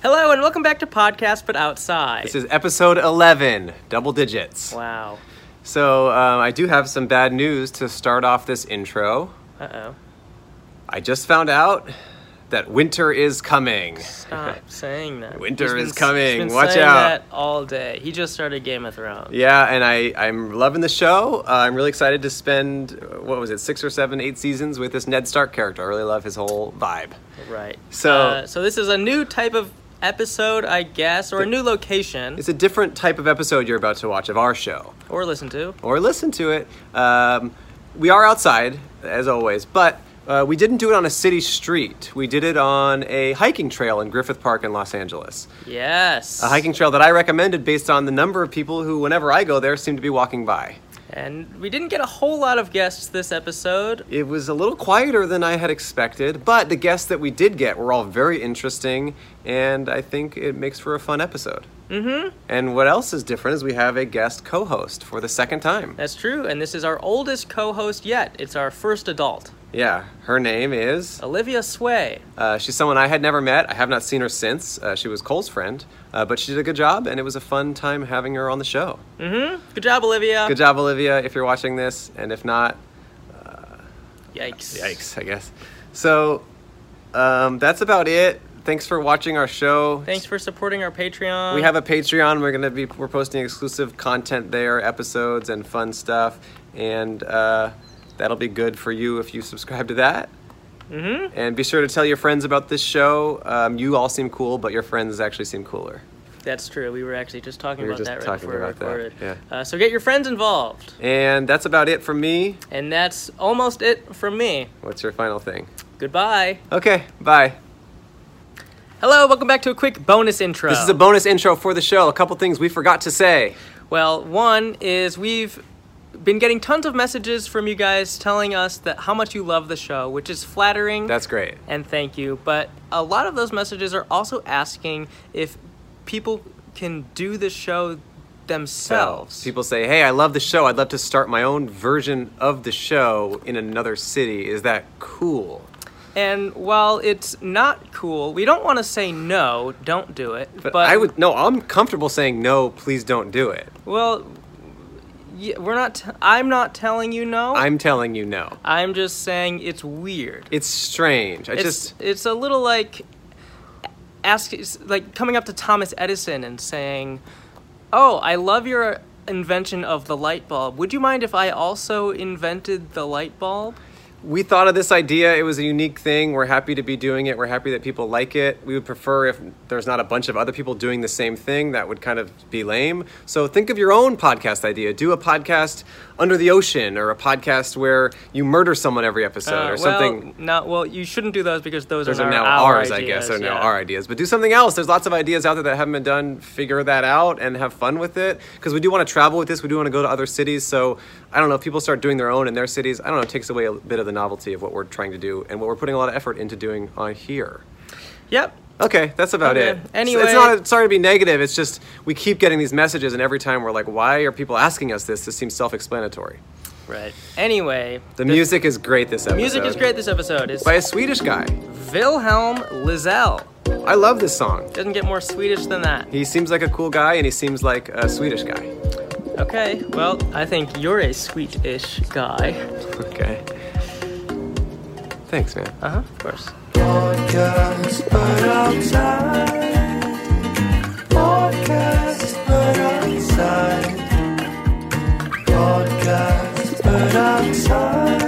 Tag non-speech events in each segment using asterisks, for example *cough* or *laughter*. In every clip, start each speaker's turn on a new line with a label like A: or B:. A: Hello and welcome back to Podcast But Outside.
B: This is episode 11, double digits.
A: wow.
B: So, um, I do have some bad news to start off this intro.
A: Uh oh.
B: I just found out that winter is coming.
A: Stop saying that.
B: Winter
A: He's been-
B: is coming.
A: he's been
B: Watch
A: saying
B: out.
A: That all day. He just started Game of Thrones.
B: Yeah, and I, I'm loving the show. Uh, I'm really excited to spend, uh, what was it, six or seven, eight seasons with this Ned Stark character. I really love his whole vibe.
A: Right.
B: So-
A: Uh, so this is a new type of episode, I guess, or a new location,
B: It's a different type of episode you're about to watch of our show.
A: or listen to.
B: or listen to it. Um, we are outside, as always, but uh, we didn't do it on a city street. We did it on a hiking trail in Griffith Park in Los Angeles.
A: Yes.
B: A hiking trail that I recommended based on the number of people who, whenever I go there, seem to be walking by.
A: And we didn't get a whole lot of guests this episode.
B: It was a little quieter than I had expected, but the guests that we did get were all very interesting, and I think it makes for a fun episode. Mm-hmm. And what else is different is we have a guest co host for the second time.
A: That's true. And this is our oldest co-host yet. It's our first adult,
B: Yeah, her name is.
A: Olivia Sway.
B: Uh, she's someone I had never met. I have not seen her since. Uh, she was Cole's friend, uh, but she did a good job, and it was a fun time having her on the show.
A: Good job, Olivia.
B: Good job, Olivia, if you're watching this, and if not,
A: Yikes.
B: yikes, I guess. So um, that's about it. Thanks for watching our show.
A: Thanks for supporting our Patreon.
B: We have a Patreon. We're gonna be we're posting exclusive content there, episodes and fun stuff, and uh, that'll be good for you if you subscribe to that. Mm-hmm. And be sure to tell your friends about this show. Um, you all seem cool, but your friends actually seem cooler.
A: That's true. We were actually just talking
B: We were
A: about
B: just
A: that right
B: talking
A: before
B: about that,
A: we recorded.
B: yeah.
A: Uh, so get your friends involved.
B: And that's about it from me.
A: And that's almost it from me.
B: What's your final thing?
A: Goodbye.
B: Okay, bye.
A: Hello, welcome back to a quick bonus intro.
B: This is a bonus intro for the show. A couple things we forgot to say.
A: Well, one is we've been getting tons of messages from you guys telling us that how much you love the show, which is flattering.
B: That's great.
A: and thank you. But a lot of those messages are also asking if people can do the show themselves.
B: People say, "Hey, I love the show. I'd love to start my own version of the show in another city. Is that cool?"
A: And while it's not cool, we don't want to say no, don't do it. But,
B: But, I would no. I'm comfortable saying no. Please don't do it.
A: Well, y- we're not. T- I'm not telling you no.
B: I'm telling you no.
A: I'm just saying it's weird.
B: It's strange. I
A: it's
B: just
A: it's a little like ask it's like coming up to Thomas Edison and saying, "Oh, I love your invention of the light bulb. Would you mind if I also invented the light bulb?"
B: we thought of this idea. It was a unique thing. We're happy to be doing it. We're happy that people like it. We would prefer if there's not a bunch of other people doing the same thing. That would kind of be lame. So think of your own podcast idea. Do a podcast under the ocean or a podcast where you murder someone every episode
A: Uh,
B: or something.
A: Well, not well. You shouldn't do those because those,
B: Those
A: are,
B: are now
A: our
B: ours, I
A: ideas,
B: guess, are now
A: yeah.
B: our ideas. But do something else. There's lots of ideas out there that haven't been done. Figure that out and have fun with it. Because we do want to travel with this. We do want to go to other cities. So I don't know if people start doing their own in their cities. I don't know. It takes away a bit of the novelty of what we're trying to do and what we're putting a lot of effort into doing on here.
A: Yep.
B: Okay, that's about
A: Okay,
B: it. It's-
A: anyway-
B: it's not sorry to be negative. It's just we keep getting these messages, and every time we're like, "Why are people asking us this?" This seems self-explanatory.
A: Right. Anyway,
B: The music is great this episode.
A: music is great this episode. It's
B: by a Swedish guy.
A: Wilhelm Lizell.
B: I love this song.
A: Doesn't get more Swedish than that.
B: He seems like a cool guy, and he seems like a Swedish guy. *laughs*
A: Okay, well, I think you're a sweet-ish guy.
B: Okay. Thanks, man.
A: Uh-huh, of course.
C: Podcast but outside. Podcast but outside. Podcast but outside.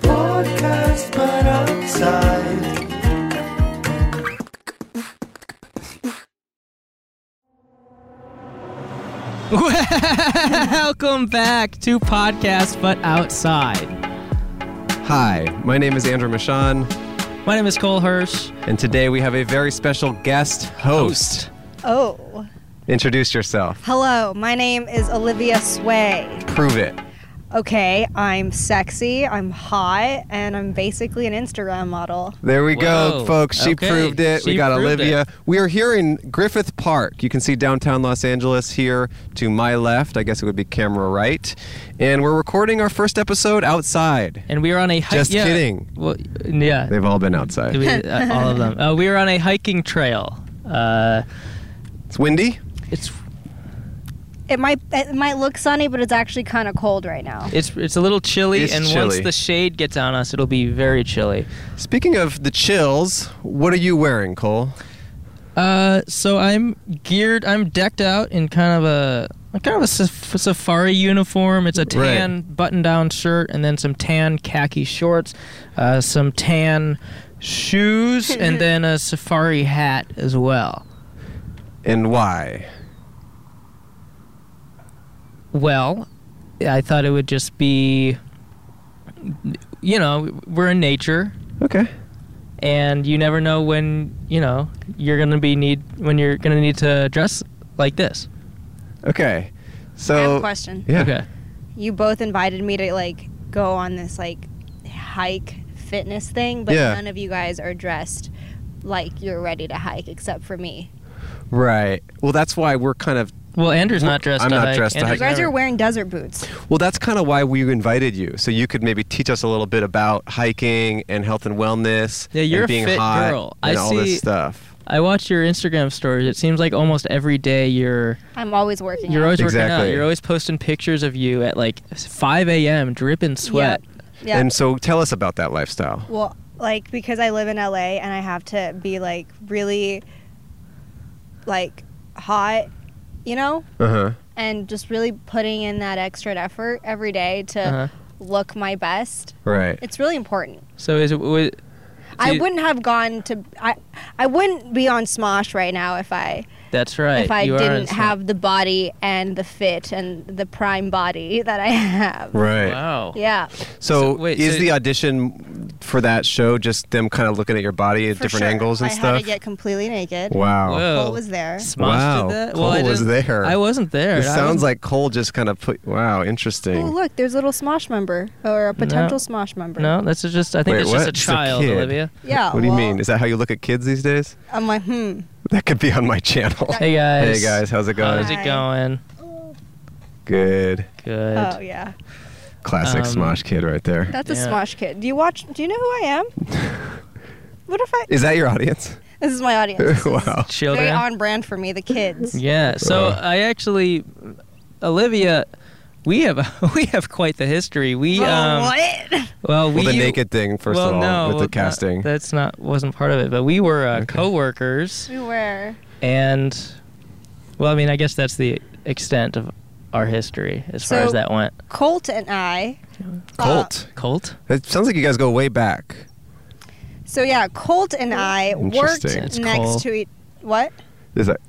C: Podcast but outside.
A: Welcome back to Podcast But Outside.
B: Hi, my name is Andrew Michon,
A: My name is Cole Hirsch.
B: and today we have a very special guest host.
D: Oh.
B: Introduce yourself.
D: Hello, my name is Olivia Sway.
B: Prove it.
D: okay, I'm sexy, I'm hot, and I'm basically an Instagram model.
B: There we go,
A: Whoa.
B: folks. She
A: Okay.
B: proved it. we
A: She
B: got
A: proved
B: Olivia.
A: it.
B: We are here in Griffith Park. You can see downtown Los Angeles here to my left. I guess it would be camera right. And we're recording our first episode outside.
A: And we were on a hike.
B: Just
A: yeah.
B: kidding.
A: Well, yeah.
B: They've all been outside.
A: We- uh, all of them. Uh, we were on a hiking trail. Uh,
B: It's windy.
A: it's
D: It might it might look sunny, but it's actually kind of cold right now.
A: it's it's a little chilly,
B: It's
A: and once
B: chilly.
A: the shade gets on us, it'll be very chilly.
B: Speaking of the chills, what are you wearing, Cole?
A: Uh, so I'm geared. I'm decked out in kind of a kind of a saf- safari uniform. It's a
B: Right.
A: tan button-down shirt, and then some tan khaki shorts, uh, some tan shoes, and then a safari hat as well.
B: And why?
A: Well, I thought it would just be, you know, we're in nature,
B: Okay.
A: and you never know when you know you're gonna be need when you're gonna need to dress like this.
B: Okay. So
D: I have a question.
B: Yeah.
A: Okay.
D: You both invited me to like go on this like hike fitness thing, but
B: Yeah.
D: none of you guys are dressed like you're ready to hike except for me.
B: Right. Well, that's why we're kind of
A: Well, Andrew's not dressed.
B: I'm
A: to
B: not
A: hike.
B: dressed to
A: Andrew's
D: You guys
A: never-
D: are wearing desert boots.
B: Well, that's kind of why we invited you, so you could maybe teach us a little bit about hiking and health and wellness.
A: Yeah, you're
B: and
A: a
B: being
A: fit
B: hot
A: girl. I
B: And all
A: see-
B: this stuff.
A: I watch your Instagram stories. It seems like almost every day you're
D: I'm always working.
A: you're
D: out.
A: always working
B: Exactly.
A: out. You're always posting pictures of you at like 5 a.m. dripping sweat.
D: Yeah.
B: And so, tell us about that lifestyle.
D: Well, like because I live in LA and I have to be like really like hot, you know,
B: Uh huh.
A: Uh-huh.
D: and just really putting in that extra effort every day to
A: Uh-huh.
D: look my best.
B: Right.
D: It's really important.
A: So is it? wa-
D: I
A: you-
D: wouldn't have gone to I I wouldn't be on Smosh right now if I
A: That's right.
D: if I
A: you are
D: didn't
A: on-
D: have the body and the fit and the prime body *laughs* that I have.
B: Right.
A: Wow.
D: Yeah.
B: So,
A: So, wait,
B: is
A: so-
B: the audition for that show just them kind of looking at your body at
D: for
B: different
D: sure.
B: angles and
D: I
B: stuff?
D: had to get completely naked.
B: wow.
A: Whoa.
D: Cole was there.
A: Smosh
B: Wow.
A: Did that?
B: Cole
A: well, I
B: was
A: didn't-
B: there.
A: I wasn't there.
B: This
A: I
B: sounds
A: was-
B: like Cole just kind of put. Wow, interesting.
D: Oh, look, there's a little Smosh member or a potential Smosh member.
A: No, that's just. I think
B: Wait,
A: it's
B: what?
A: just a
B: It's a
A: child,
B: kid.
A: Olivia.
D: Yeah.
B: what do you
D: well,
B: mean? Is that how you look at kids these days?
D: I'm like, hmm.
B: That could be on my channel.
A: Hey guys.
B: Hey guys, how's it going?
A: How's
D: Hi.
A: it going?
B: Good.
A: Good.
D: Oh yeah,
B: Classic
A: Um,
B: Smosh kid right there.
D: that's a
A: Yeah.
D: Smosh kid. Do you watch? Do you know who I
B: *laughs*
D: am? what if I?
B: Is that your
A: *laughs*
B: audience? *laughs*
D: This is my audience. This is
B: wow.
A: Children.
D: Very on brand for me, the kids.
A: Yeah. So
B: Uh.
A: I actually, Olivia, we have *laughs* we have quite the history. We um,
D: oh, what?
B: *laughs*
A: well we
B: Well, the naked thing, first
A: well,
B: of all,
A: no,
B: with
A: well,
B: the
A: not-
B: casting.
A: that's not wasn't part of it, but we were uh, coworkers,
D: We were.
A: and well, I mean, I guess that's the extent of our history as far as
D: So-
A: that went.
D: Colt and I. uh,
B: Colt.
A: Colt.
B: It sounds like you guys go way back.
D: So yeah, Colt and I worked
B: Oh, Interesting.
A: It's
D: next
A: Cole.
D: to each. What? Um,
B: Is that?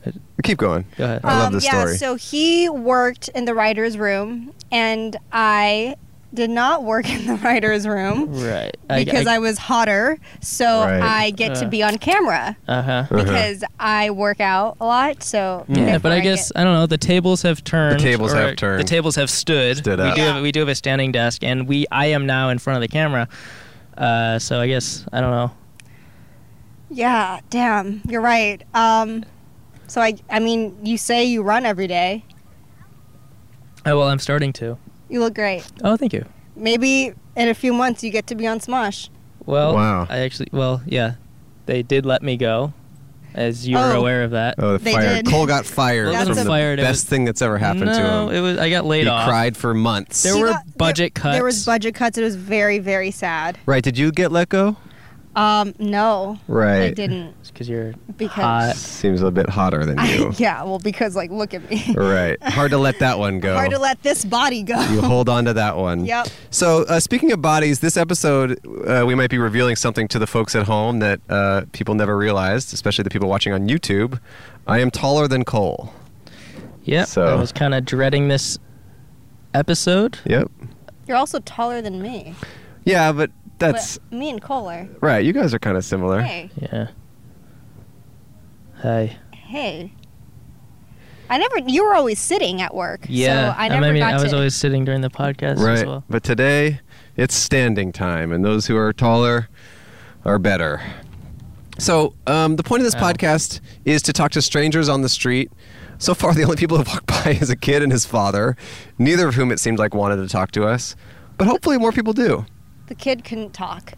B: Keep going.
A: Go ahead.
D: Uh,
B: I love this
D: yeah,
B: story.
D: so he worked in the writer's room, and I did not work *laughs* in the writer's room
A: Right.
D: because I, was hotter. So
B: Right. Uh-huh.
D: I get to
A: Uh.
D: be on camera.
A: Uh huh.
D: because I work out a lot. So
A: Yeah,
D: therefore
A: but I guess I don't know. The tables have turned.
B: tables
A: or
B: have
A: The
B: turned.
A: tables have stood.
B: Stood
A: we
B: up.
A: do
D: Yeah.
A: have we do have a standing desk, and we I am now in front of the camera. Uh, so I guess I don't know.
D: get, yeah, damn, you're right. Um, so I, I mean, you say you run every day.
A: Oh well, I'm starting to.
D: You look great.
A: Oh, thank you.
D: Maybe in a few months you get to be on Smosh.
A: Well,
B: Wow.
A: I actually well yeah, they did let me go, as you were
D: Oh.
A: aware of that.
B: Oh, the
D: They
B: fire.
D: did.
B: Cole got fired
A: Well,
D: it
B: from
D: wasn't
B: the
A: fired, it
B: best
A: was-
B: thing that's ever happened to
A: no,
B: him.
A: it was I got
B: he
A: laid off.
B: cried for months.
A: There
D: He
A: were
D: got-
A: budget
D: there, There was
A: cuts.
D: budget cuts. It was very, very sad.
B: right? Did you get let go?
D: Um, no,
B: Right.
D: I didn't *laughs*
A: because you're
D: because.
B: Seems a bit hotter than
D: I,
B: you.
D: yeah, well, because like, look at me.
B: *laughs* Right. Hard to let that one go.
D: *laughs* Hard to let this body go. *laughs*
B: you hold on to that one.
D: Yep.
B: So, uh, speaking of bodies, this episode uh, we might be revealing something to the folks at home that uh, people never realized, especially the people watching on YouTube. I am taller than Cole.
A: Yep.
B: So-
A: I was kind of dreading this episode.
B: Yep.
D: You're also taller than me.
B: Yeah, but that's
D: but me and Cole are.
B: right. You guys are kind of similar.
D: Hey,
A: Yeah. Hey.
D: hey. I never. You were always sitting at work.
A: Yeah,
D: So I never
A: mean,
D: got
A: I was
D: to.
A: always sitting during the podcast as
B: Right.
A: well.
B: But today, it's standing time, and those who are taller are better. So, um, the point of this podcast is to talk to strangers on the street. So far, the only people who walked *laughs* by is a kid and his father, neither of whom it seemed like wanted to talk to us. But hopefully, more people do.
D: the kid couldn't talk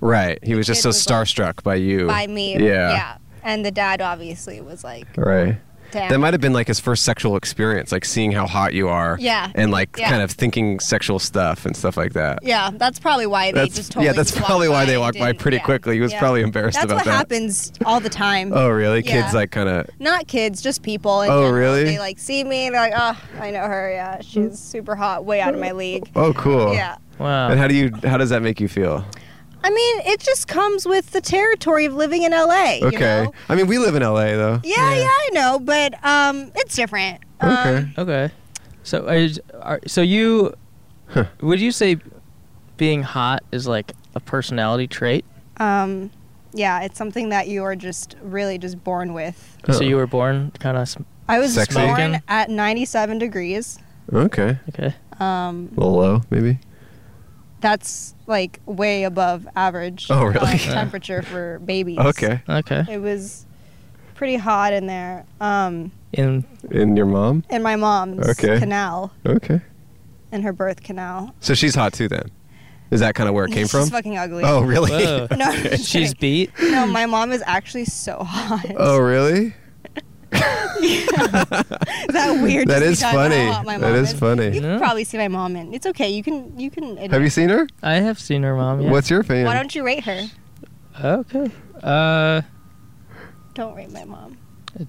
B: Right. He was just
D: kid
B: so
D: was like-
B: starstruck by you.
D: by me.
B: Yeah.
D: Yeah. And the dad obviously was like,
B: Right.
D: damn.
B: That might have been like his first sexual experience, like seeing how hot you are.
D: Yeah.
B: And like
D: Yeah.
B: kind of thinking sexual stuff and stuff like that.
D: yeah, that's probably why they
B: That's-
D: just totally
B: yeah, that's
D: just walked
B: probably why they
D: and
B: walked by
D: didn't-
B: pretty
D: yeah,
B: quickly. He was
D: yeah.
B: probably embarrassed
D: that's
B: about
D: what
B: that.
D: happens all the time.
B: Oh, really?
D: Yeah.
B: Kids like kind of.
D: Not kids, just people. in
B: Oh,
D: general.
B: really?
D: They like see me and they're like, oh, I know her. Yeah, she's super hot, way out of my league.
B: Oh, cool.
D: Yeah.
A: Wow.
B: And how do you? How does that make you feel?
D: I mean, it just comes with the territory of living in LA. you
B: Okay.
D: know?
B: I mean, we live in LA though.
D: Yeah,
A: Yeah.
D: yeah, I know, but um, it's different.
B: Okay.
D: Um,
A: Okay. So are, are so you would you say being hot is like a personality trait?
D: um, yeah, it's something that you are just really just born with.
B: Oh.
A: So you were born kind of
D: I was
B: Sexy.
D: born
A: Smoking?
D: at 97 degrees.
B: Okay.
A: okay.
D: Um,
B: A little low, maybe.
D: that's like way above average
B: Oh, really? *laughs*
D: uh,
B: Yeah.
D: temperature for babies.
B: Okay.
A: Okay.
D: It was pretty hot in there. Um,
A: In
B: And your mom?
D: in my mom's
B: Okay.
D: canal,
B: Okay.
D: in her birth canal.
B: So she's hot too then. Is that kind of where it came
D: *laughs* She's
B: from?
D: fucking ugly.
B: Oh, really?
A: whoa,
D: *laughs* No, I'm just
A: she's
D: kidding.
A: beat.
D: No, my mom is actually so *laughs* hot.
B: Oh,
D: *laughs*
B: really?
D: that
B: *laughs*
D: weird.
B: That
D: just me
B: is
D: talking about
B: funny.
D: how hot my
B: That
D: mom
B: is funny.
D: You can
A: Yeah.
D: probably see my mom in. It's okay. You can. You can.
B: Have you seen her?
A: I have seen her mom. Oh, Yeah.
B: What's your opinion?
D: Why don't you rate her?
A: okay? Uh,
D: Don't rate my mom.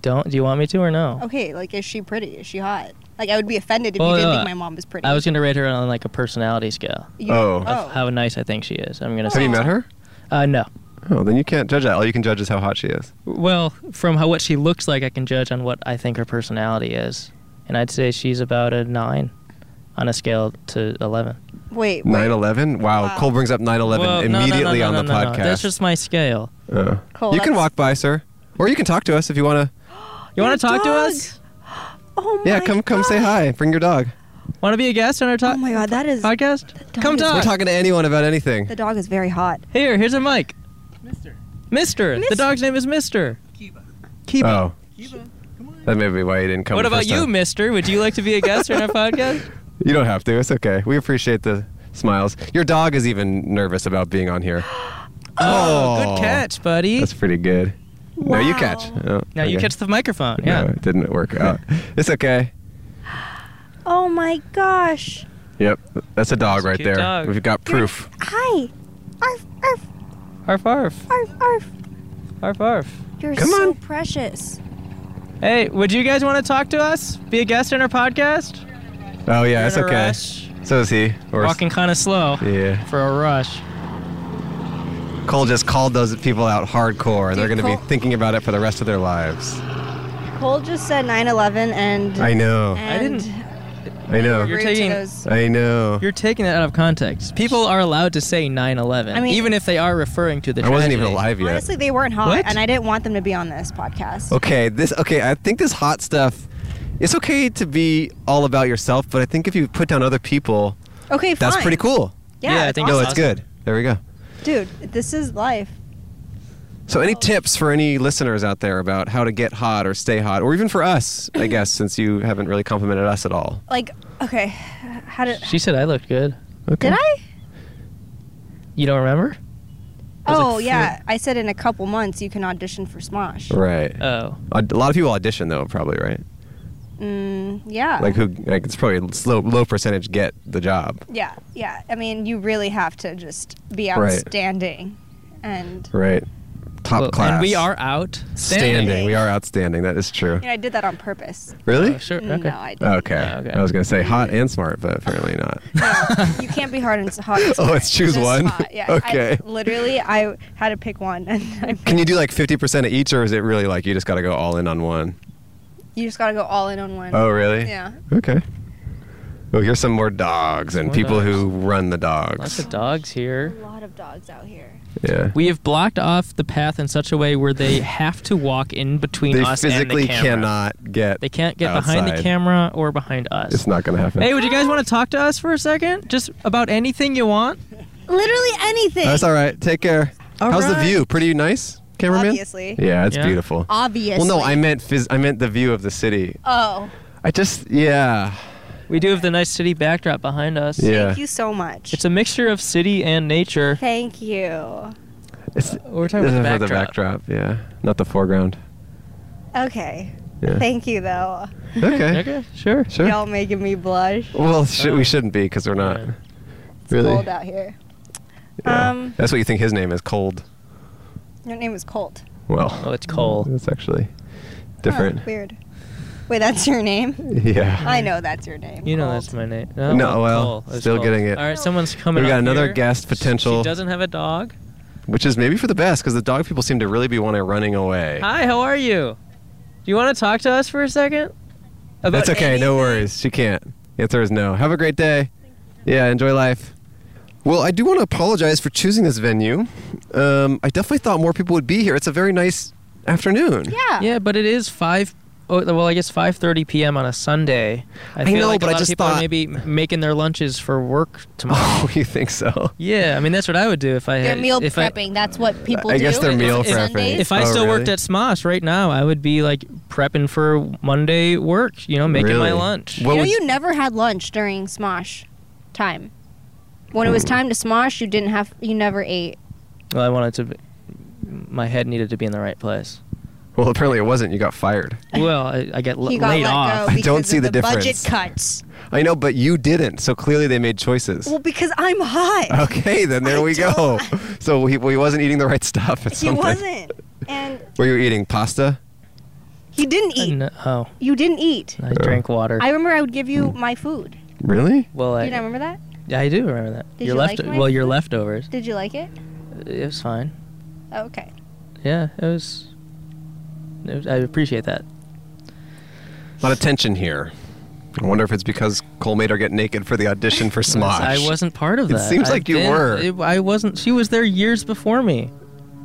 A: don't. Do you want me to or no?
D: Okay, like is she pretty? Is she hot? Like I would be offended if
A: Well,
D: you didn't
A: no,
D: think my mom was pretty.
A: Oh, I was gonna rate her on like a personality scale.
D: You-
B: Oh.
A: of How nice I think she is. I'm
D: Oh.
A: gonna
B: Have
A: say.
B: you met her?
A: Uh, no.
B: Oh, then you can't judge that. All you can judge is how hot she is.
A: Well, from how what she looks like, I can judge on what I think her personality is, and I'd say she's about a nine, on a scale to eleven.
D: Wait. wait.
B: 9 11? Wow.
D: Wow.
B: Cole brings up 9 11
A: Well, no, no, no,
B: immediately
A: no,
B: on the
A: no, no,
B: podcast.
A: no. That's just my scale.
B: Uh,
D: Cole,
B: you can
D: Oh, that's-
B: walk by, sir. Or you can talk to us if you want to.
A: You
D: Your
A: want to talk to
D: dog.
A: us?
D: Oh my.
B: Yeah, come come say
D: God.
B: hi. Bring your dog.
A: Want to be a guest on our talk
D: Oh my god, that is.
A: podcast? Come
D: is-
A: talk.
B: We're talking to anyone about anything.
D: Oh. The dog is very hot.
A: Here, here's a mic. Mister. Mister. The
D: Mis-
A: dog's name is Mister. Kiba. Kiba.
B: Oh. That may be why you didn't come.
A: What
B: the
A: about
B: first
A: you,
B: time.
A: Mister? Would you like to be a guest
B: *laughs*
A: on our podcast?
B: You don't have to. It's okay. We appreciate the smiles. Your dog is even nervous about being on
D: *gasps*
B: here.
A: Oh, good catch, buddy.
B: That's pretty good. No, you
D: Wow.
B: catch. Oh,
A: now you
B: okay.
A: catch the microphone. Yeah.
B: No, it didn't work
A: *laughs*
B: out. it's okay.
D: Oh my gosh.
B: Yep. That's a dog
A: That's a
B: right
A: cute
B: there.
A: dog.
B: We've got proof.
D: Hi. Arf, arf,
A: Arf arf.
D: arf, arf.
A: Arf arf.
D: You're
B: Come
D: so
B: on.
D: precious.
A: Hey, would you guys want to talk to us? Be a guest on our podcast?
B: Oh yeah, it's
A: In a
B: okay.
A: rush.
B: So is he. Or
A: Walking kind of slow
B: Yeah.
A: for a rush.
B: Cole just called those people out hardcore, and they're
D: Dude,
B: going to be
D: Cole-
B: thinking about it for the rest of their lives.
D: Cole just said 9/11 and.
B: I know.
D: And
A: didn't-
B: I know.
A: You're
D: rude to
A: taking-
D: those-
B: I know.
A: You're taking that out of context. People are allowed to say 9/11,
D: I mean-
A: even if they are referring to the.
B: I wasn't even
A: tragedy.
B: alive yet.
D: Honestly, they weren't hot,
A: What?
D: and I didn't want them to be on this podcast.
B: Okay, this okay, I think this hot stuff it's okay to be all about yourself, but I think if you put down other people,
D: Okay, fine.
B: that's pretty cool.
D: Yeah,
A: Yeah, I
D: it's
A: think
B: No,
A: so.
D: awesome.
B: it's good. There we go.
D: dude. This is life.
B: So
D: Oh.
B: any tips for any listeners out there about how to get hot or stay hot or even for us,
D: *clears throat*
B: I guess since you haven't really complimented us at all.
D: Like, okay, how did
A: She said I looked good.
B: Okay.
D: did I?
A: You don't remember? was like
D: Oh
A: four-
D: yeah, I said in a couple months you can audition for Smosh.
B: Right.
A: Oh.
B: A a lot of people audition though, probably, right?
D: Mm, yeah.
B: Like who like it's probably a slow low percentage get the job.
D: yeah, yeah. I mean, you really have to just be
B: Right.
D: outstanding, and
B: Right. Top
A: Well,
B: class.
A: And we are out.
B: standing. We are outstanding. That is true.
D: you know, I did that on purpose. Mm,
B: Really?
A: Oh, sure. Okay.
D: No, I didn't.
B: Okay.
A: Yeah, okay.
B: I was gonna say hot and smart, but apparently not.
D: No,
B: *laughs*
D: you can't be hard and s- hot. and
B: Oh, it's
D: smart.
B: choose
D: Just
B: one?
D: hot, Yeah.
B: Okay.
D: I, literally, I had to pick one, *laughs* and I,
B: Can you do like fifty percent of each, or is it really like you just got to go all in on one?
D: you just gotta go all in on one.
B: Oh, really?
D: Yeah.
B: Okay. Well, here's some more dogs and
A: More
B: people
A: dogs.
B: who run the
A: Lots
B: dogs.
A: of dogs here.
D: A lot of dogs out here.
B: Yeah.
A: We have blocked off the path in such a way where they have to walk in between
B: They
A: us
B: physically
A: and the camera.
B: cannot get.
A: They can't get behind the
B: outside.
A: camera or behind us.
B: It's not going to happen.
A: Hey, would you guys want to talk to us for a second? Just about anything you want?
E: Literally anything.
B: That's all right. Take care.
A: All
B: How's the
A: right.
B: view? Pretty nice, cameraman.
E: Obviously.
B: Yeah, it's
A: Yeah.
B: beautiful.
E: Obviously.
B: Well, no, I meant phys- I meant the view of the city.
E: Oh,
B: I just yeah
A: We do have the nice city backdrop behind us.
B: yeah.
E: thank you so much.
A: It's a mixture of city and nature.
E: Thank you.
B: It's
A: Uh, We're talking about the
B: this is for
A: backdrop.
B: the backdrop. Yeah, not the foreground.
E: Okay.
B: Yeah.
E: Thank you though.
B: *laughs* okay.
A: Okay, sure.
B: Sure.
E: Y'all making me blush.
B: Well, sh- we shouldn't be because we're not.
A: Alright.
B: Really.
E: Cold out here.
B: Yeah.
E: Um,
B: That's what you think his name is, Cold.
E: your name is Colt.
B: Well,
A: Oh, it's
B: *laughs*
A: Cole.
B: that's actually
E: Huh,
B: different.
E: weird. Wait, that's your name?
B: yeah.
E: Oh, I know that's your name.
A: You know
E: Colt.
A: that's my name. Oh,
B: No, well,
A: It's
B: still getting it.
A: All right, someone's coming.
B: We got
A: up
B: another
A: here.
B: guest potential,
A: She doesn't have a dog.
B: which is maybe for the best because the dog people seem to really be wanting running away.
A: Hi, how are you? Do you want to talk to us for a second? About
B: That's okay. No worries. She can't. The answer is no. Have a great day. Yeah, enjoy life. Well, I do want to apologize for choosing this venue. Um, I definitely thought more people would be here. It's a very nice afternoon.
E: Yeah.
A: Yeah, but it is five. Oh, well, I guess 5:30 p.m. on a Sunday. I, feel
B: know,
A: like
B: but
A: a
B: I
A: lot of
B: just
A: people
B: thought-
A: are maybe making their lunches for work tomorrow.
B: *laughs* *laughs* Oh, you think so?
A: Yeah, I mean that's what I would do if I
D: They're
A: had
D: meal
A: if I,
D: prepping. That's what people
B: I
D: do.
B: guess they're
D: on
B: meal prepping.
D: Sundays.
A: if I
B: Oh,
A: still
B: really?
A: worked at Smosh right now, I would be like prepping for Monday work. You know, making my
B: Really?
A: lunch.
B: What
D: you know,
B: would-
D: you never had lunch during Smosh time. When it was
B: Hmm.
D: time to Smosh, you didn't have, you never ate.
A: Well, I wanted to. Be, my head needed to be in the right place.
B: well, apparently it wasn't. You got fired.
A: Well, I, I get l-
D: He got
A: laid
D: let *laughs*
A: off.
D: go
B: I don't
D: because
B: see
D: of
B: the difference.
D: budget cuts.
B: I know, but you didn't. So clearly they made choices.
E: Well, because I'm hot.
B: okay, then there
E: I
B: we go. *laughs* So he, well, he wasn't eating the right stuff.
E: *laughs* *laughs*
B: Or
E: he
B: something.
E: wasn't. And
B: Were you eating pasta?
E: he didn't
A: Uh,
E: eat.
A: no- oh,
E: You didn't eat.
A: I drank water.
D: I remember I would give you my food.
B: Really?
A: well,
D: Do
A: I,
D: you not remember that?
A: yeah, I do remember that.
D: Did
A: your
D: you
A: left.
D: like my
A: well, your
D: food?
A: leftovers.
D: Did you like it?
A: It was fine.
D: Oh, okay.
A: Yeah, it was. It was I appreciate that.
B: A lot of tension here. I wonder if it's because Cole made her get naked for the
E: *laughs*
B: audition for Smosh.
A: I wasn't part of
B: It
A: that.
B: seems
A: I've
B: like you were.
A: it- I wasn't. She was there years before me.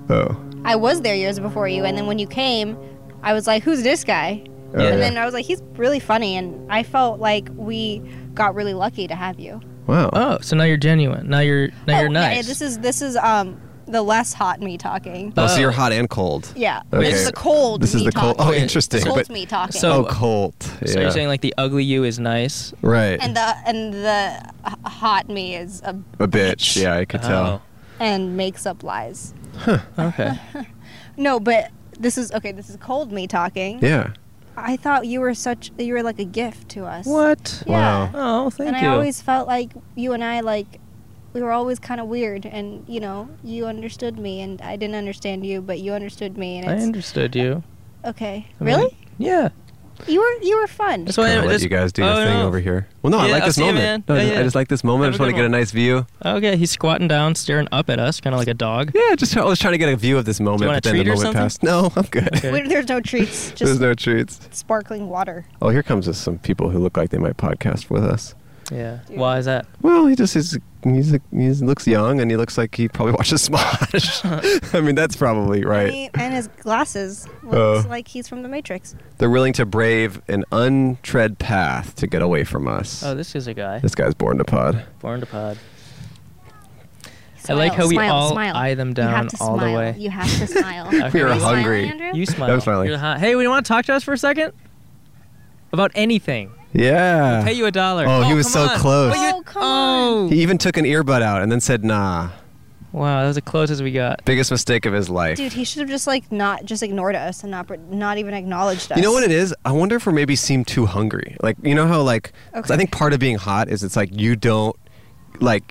B: Oh.
D: I was there years before you, and then when you came, I was like, who's this guy?
A: Yeah.
D: And then I was like, he's really funny, and I felt like we got really lucky to have you.
B: Wow.
A: Oh, so now you're genuine. Now you're now you're
D: Oh, yeah,
A: nice.
D: yeah, this is this is um the less hot me talking.
B: Oh, so
A: Oh.
B: you're hot and cold.
D: Yeah,
B: Okay.
D: it's the cold.
B: This is
D: me
B: the cold-
D: talking.
B: oh, interesting,
D: The cold
B: but-
D: me talking.
B: oh,
A: So-
B: cold. Yeah.
A: So you're saying like the ugly you is nice?
B: right.
D: and the and the h- hot me is a,
B: a bitch. Yeah, I could tell.
D: and makes up lies.
A: Oh,
D: *laughs*
A: okay.
D: No, but this is okay. This is cold me talking.
B: Yeah.
D: I thought you were such you were like a gift to us.
A: what?
D: Yeah.
B: Wow.
A: Oh, thank
D: and
A: you.
D: I always felt like you and I like we were always kind of weird, and you know you understood me, and I didn't understand you, but you understood me,
A: I
D: and it's
A: understood you.
D: okay.
A: I mean,
D: really?
A: Yeah.
D: You were you were fun.
A: That's why
B: Gonna
A: I
B: let
A: this-
B: you guys do
A: oh,
B: your thing
A: no.
B: over here. Well, no, I
A: Yeah,
B: like
A: I'll
B: this
A: see you, man.
B: moment. No,
A: Yeah,
B: I just- I
A: yeah.
B: just like this moment. I
A: Have
B: just
A: a
B: want to
A: good
B: get a
A: one.
B: nice view.
A: Okay, he's squatting down, staring up at us, kind of like a *laughs* dog.
B: Yeah, just I was trying to get a view of this moment,
A: want a
B: but then the
A: treat or
B: moment
A: something?
B: passed. No, I'm good.
A: Okay.
D: Wait, there's no
A: *laughs*
B: *laughs*
D: treats,
B: There's
D: just
B: no treats.
D: sparkling water.
B: Oh, here comes us some people who look like they might podcast with us.
A: Yeah. Why is that?
B: Well, he just is. He's a, he looks young, and he looks like he probably *laughs* watches
A: *laughs*
B: Smosh. I mean, that's probably right.
D: He- and his glasses
A: Uh.
D: looks
B: Oh.
D: like he's from the Matrix.
B: They're willing to brave an untread path to get away from us.
A: Oh, this is a guy
B: this guy's born to pod.
A: born to pod.
D: Smile,
A: I like how we
D: smile,
A: all
D: smile.
A: eye them
D: you
A: down
D: have to
A: all
D: smile.
A: the way.
D: You have to smile.
A: *laughs* Okay. We
B: were
D: Are you smiling,
B: hungry.
D: Andrew?
A: You smile.
B: smiling.
A: You're hot. Hey, we want to talk to us for a second about anything.
B: Yeah.
A: Pay you a dollar.
B: Oh, he was
A: come
B: so
A: on.
B: close.
D: Oh, come on.
A: Oh.
B: He even took an earbud out and then said, "Nah."
A: Wow, that was the closest we got.
B: Biggest mistake of his life.
D: Dude, he should have just like not just ignored us and not not even acknowledged us.
B: You know what it is? I wonder if we maybe seem too hungry. Like, you know how like 'cause I
D: Okay.
B: think part of being hot is it's like you don't like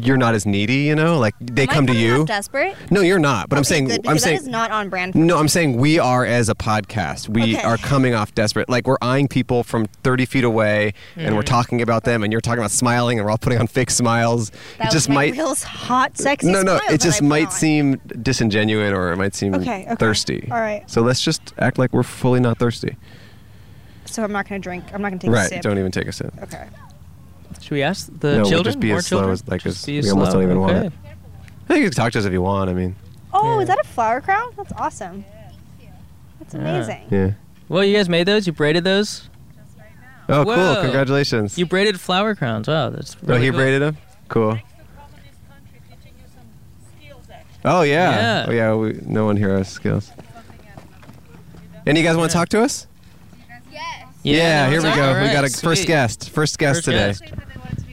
B: you're not as needy. You know, like they
D: Am I
B: come to
D: coming
B: you.
D: off desperate.
B: No, you're not. But I'm
D: Okay,
B: saying
D: good,
B: I'm
D: because
B: saying
D: that is not on brand.
B: No, I'm saying we are as a podcast. We
D: Okay.
B: are coming off desperate. Like we're eyeing people from 30 feet away, and
D: Mm.
B: we're talking about them, and you're talking about smiling, and we're all putting on fake smiles. it
D: That was
B: just
D: my
B: might.
D: real s- hot, sexy.
B: no, no,
D: smile
B: it
D: that
B: just
D: I put
B: might
D: on.
B: seem disingenuous, or it might seem
D: Okay, okay.
B: thirsty.
D: All right.
B: So let's just act like we're fully not thirsty.
D: So I'm not gonna drink. I'm not gonna take
B: right.
D: a sip.
B: Don't e- even take a sip.
D: Okay.
A: Should we ask the
B: No, we'll
A: children?
B: just be
A: More
B: as slow
A: children?
B: as- like,
A: Just
B: as-
A: be
B: we almost
A: slow.
B: don't even want
A: Okay.
B: it. I think you can talk to us if you want. I mean,
D: Oh,
A: Yeah.
D: is that a flower crown? That's awesome. That's
A: Yeah.
D: amazing.
B: yeah.
A: Well, you guys made those. You braided those.
B: Oh,
A: Whoa.
B: cool! Congratulations.
A: You braided flower crowns. Wow, that's
B: oh,
A: really
B: he
A: cool.
B: braided him. Cool. Oh yeah.
A: Yeah.
B: Oh yeah. We, no one here has skills. Any you guys want to talk to us?
A: Yeah, no,
B: here we
A: it's
B: go.
A: all
B: We got a
A: right,
B: first
A: sweet.
B: guest. First guest
A: First
B: today.
A: guest.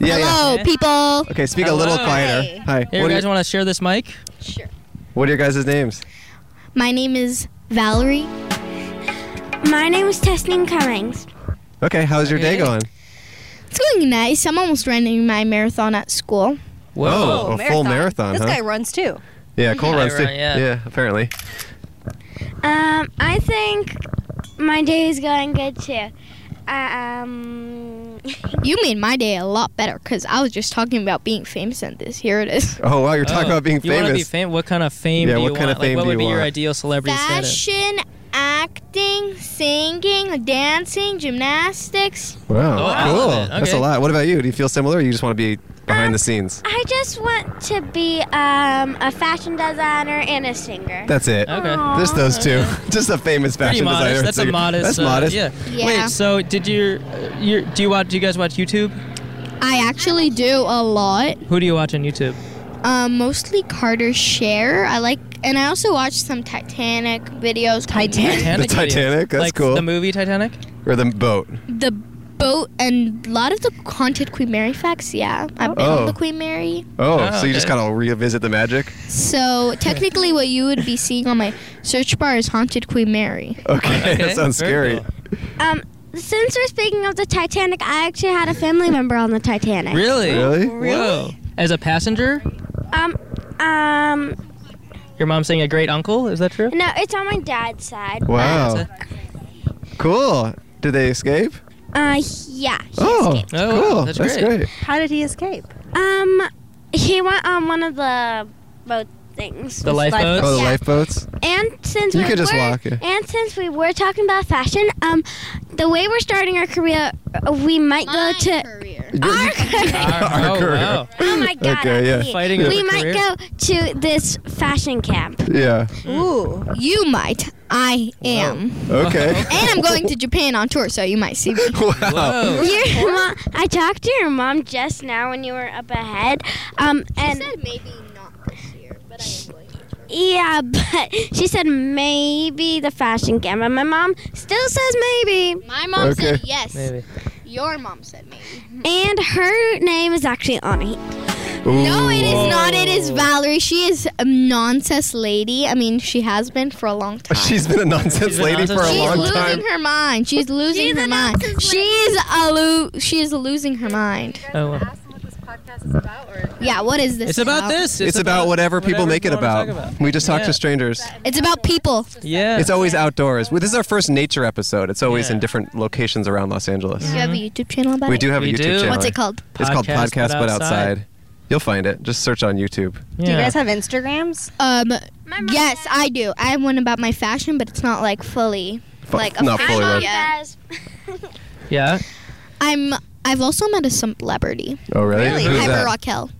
B: Yeah, yeah.
A: Hello,
F: people.
B: Okay, speak a little
A: Hello.
B: quieter. Hi.
A: Hey,
B: what, Oh.
A: you
B: are
A: guys
B: your,
A: want to share this mic?
F: Sure.
B: what are your guys' names?
G: My name is Valerie. My name is Testine Cummings.
B: Okay, how's your day
A: Okay.
B: going?
G: It's going nice. I'm almost running my marathon at school.
B: Whoa, Oh, a full marathon,
D: This
B: huh?
D: guy runs too.
B: yeah, Cole
A: I
B: runs too.
A: run, yeah.
B: apparently.
G: Um, I think my day is going good too. Um,
H: You made my day a lot better because I was just talking about being famous, and this here it is.
B: Oh wow, you're talking
A: Oh,
B: about being
A: you wanna be
B: famous.
A: fam- what kind of fame
B: Yeah,
A: do you
B: what kind
A: want?
B: of fame
A: like, what
B: do
A: would
B: you
A: be your
B: want?
A: ideal celebrity status?
H: Fashion, acting, singing, dancing, gymnastics.
B: wow,
A: wow.
B: cool.
A: Okay.
B: That's a lot. What about you? Do you feel similar? Or you just want to be behind the scenes?
G: I just want to be um, a fashion designer and a singer.
B: That's it.
A: Okay.
B: Just those two. *laughs* Just a famous
A: Pretty
B: fashion
A: modest.
B: designer.
A: That's a modest.
B: That's
A: uh,
B: modest.
A: Yeah.
H: Yeah.
A: Wait. So, did you, uh, you do you watch? Do you guys watch YouTube?
H: I actually do a lot.
A: Who do you watch on YouTube?
H: Um, mostly Carter Share. I like, and I also watch some Titanic videos. called
A: Titanic. videos.
B: Titanic, that's
A: like
B: cool.
A: The movie Titanic.
B: Or the boat.
H: The boat and a lot of the haunted Queen Mary facts. Yeah, I'm
B: Oh.
H: the Queen Mary.
B: Oh,
A: Oh,
B: so you just
A: okay.
B: kind of revisit the magic?
H: So technically, what you would be seeing on my search bar is haunted Queen Mary.
B: Okay,
A: Okay,
B: *laughs* that sounds
A: very
B: scary.
A: cool.
G: Um, since we're speaking of the Titanic, I actually had a family member on the Titanic.
A: Really?
B: Really?
A: Whoa. As a passenger,
G: Um, um,
A: your mom's saying a great uncle. Is that true?
G: no, it's on my dad's side.
B: Wow. *laughs*
A: That's
B: Cool. Did they escape?
G: Uh, yeah. he
B: Oh,
A: Oh, wow,
B: cool.
A: that's
B: that's,
A: great.
B: great.
D: How did he escape?
G: Um, he went on one of the boat things.
A: The lifeboat.
B: Oh, the
G: Yeah.
B: lifeboats.
G: And since
B: You
G: we
B: could just
G: were,
B: walk, yeah.
G: And since we were talking about fashion, um, the way we're starting our career, uh, we might go to our *laughs* career.
A: Our- oh,
B: career.
A: wow.
G: oh my god!
B: Okay, yeah.
G: I'm
A: Fighting
G: weak.
A: over
G: we might
A: career.
G: go to this fashion camp.
B: Yeah.
H: Mm.
D: Ooh.
H: You might. I am.
B: Okay.
A: *laughs*
H: And I'm going to Japan on tour, so you might see me.
B: *laughs* wow.
G: *laughs*
A: Whoa.
G: Your mom, I talked to your mom just now when you were up ahead. Um, and
H: maybe not this year, but I am going.
G: yeah, *laughs* but she said maybe the fashion camp, and my mom still says maybe.
H: My mom
B: Okay.
H: said yes.
A: Maybe.
H: Your mom said maybe.
G: And her name is actually Ani.
H: No, it is not. It is
A: Ooh.
H: Valerie. She is a nonsense lady. I mean, she has been for a long time.
B: She's been a nonsense
A: She's been
B: lady
A: nonsense
B: for a
A: lady.
H: She's
B: long
H: losing
B: time.
H: her mind. She's losing
G: She's
H: her
G: a
H: mind.
G: nonsense lady.
H: She's a lo- she is losing her mind.
A: Oh, wow.
H: Yeah, what is this?
A: It's about this.
B: It's, about, whatever people make it
A: you wanna
B: about.
A: talk
B: We just talk
A: Yeah.
B: to strangers.
H: It's about people.
A: Yeah.
B: It's always outdoors. Well, this is our first nature episode. It's always
A: Yeah.
B: in different locations around Los Angeles.
H: Do you have a YouTube channel about
B: We
H: it?
B: do have
A: We
B: a YouTube
A: do.
B: channel. eh?
H: What's it called?
B: It's called
A: Podcast But
B: Podcast But
A: Outside.
B: Outside. You'll find it. Just search on YouTube.
A: yeah.
D: Do you guys have Instagrams?
H: Um, yes, I do. I have one about my fashion, but it's not like fully.
B: F-
H: Like a
B: not
H: fan Oh,
B: fully
H: of
B: loaded.
H: it.
A: yeah.
H: I'm. I've also met a celebrity,
B: Oh, really? Who's
H: Piper
B: that?
H: Raquel.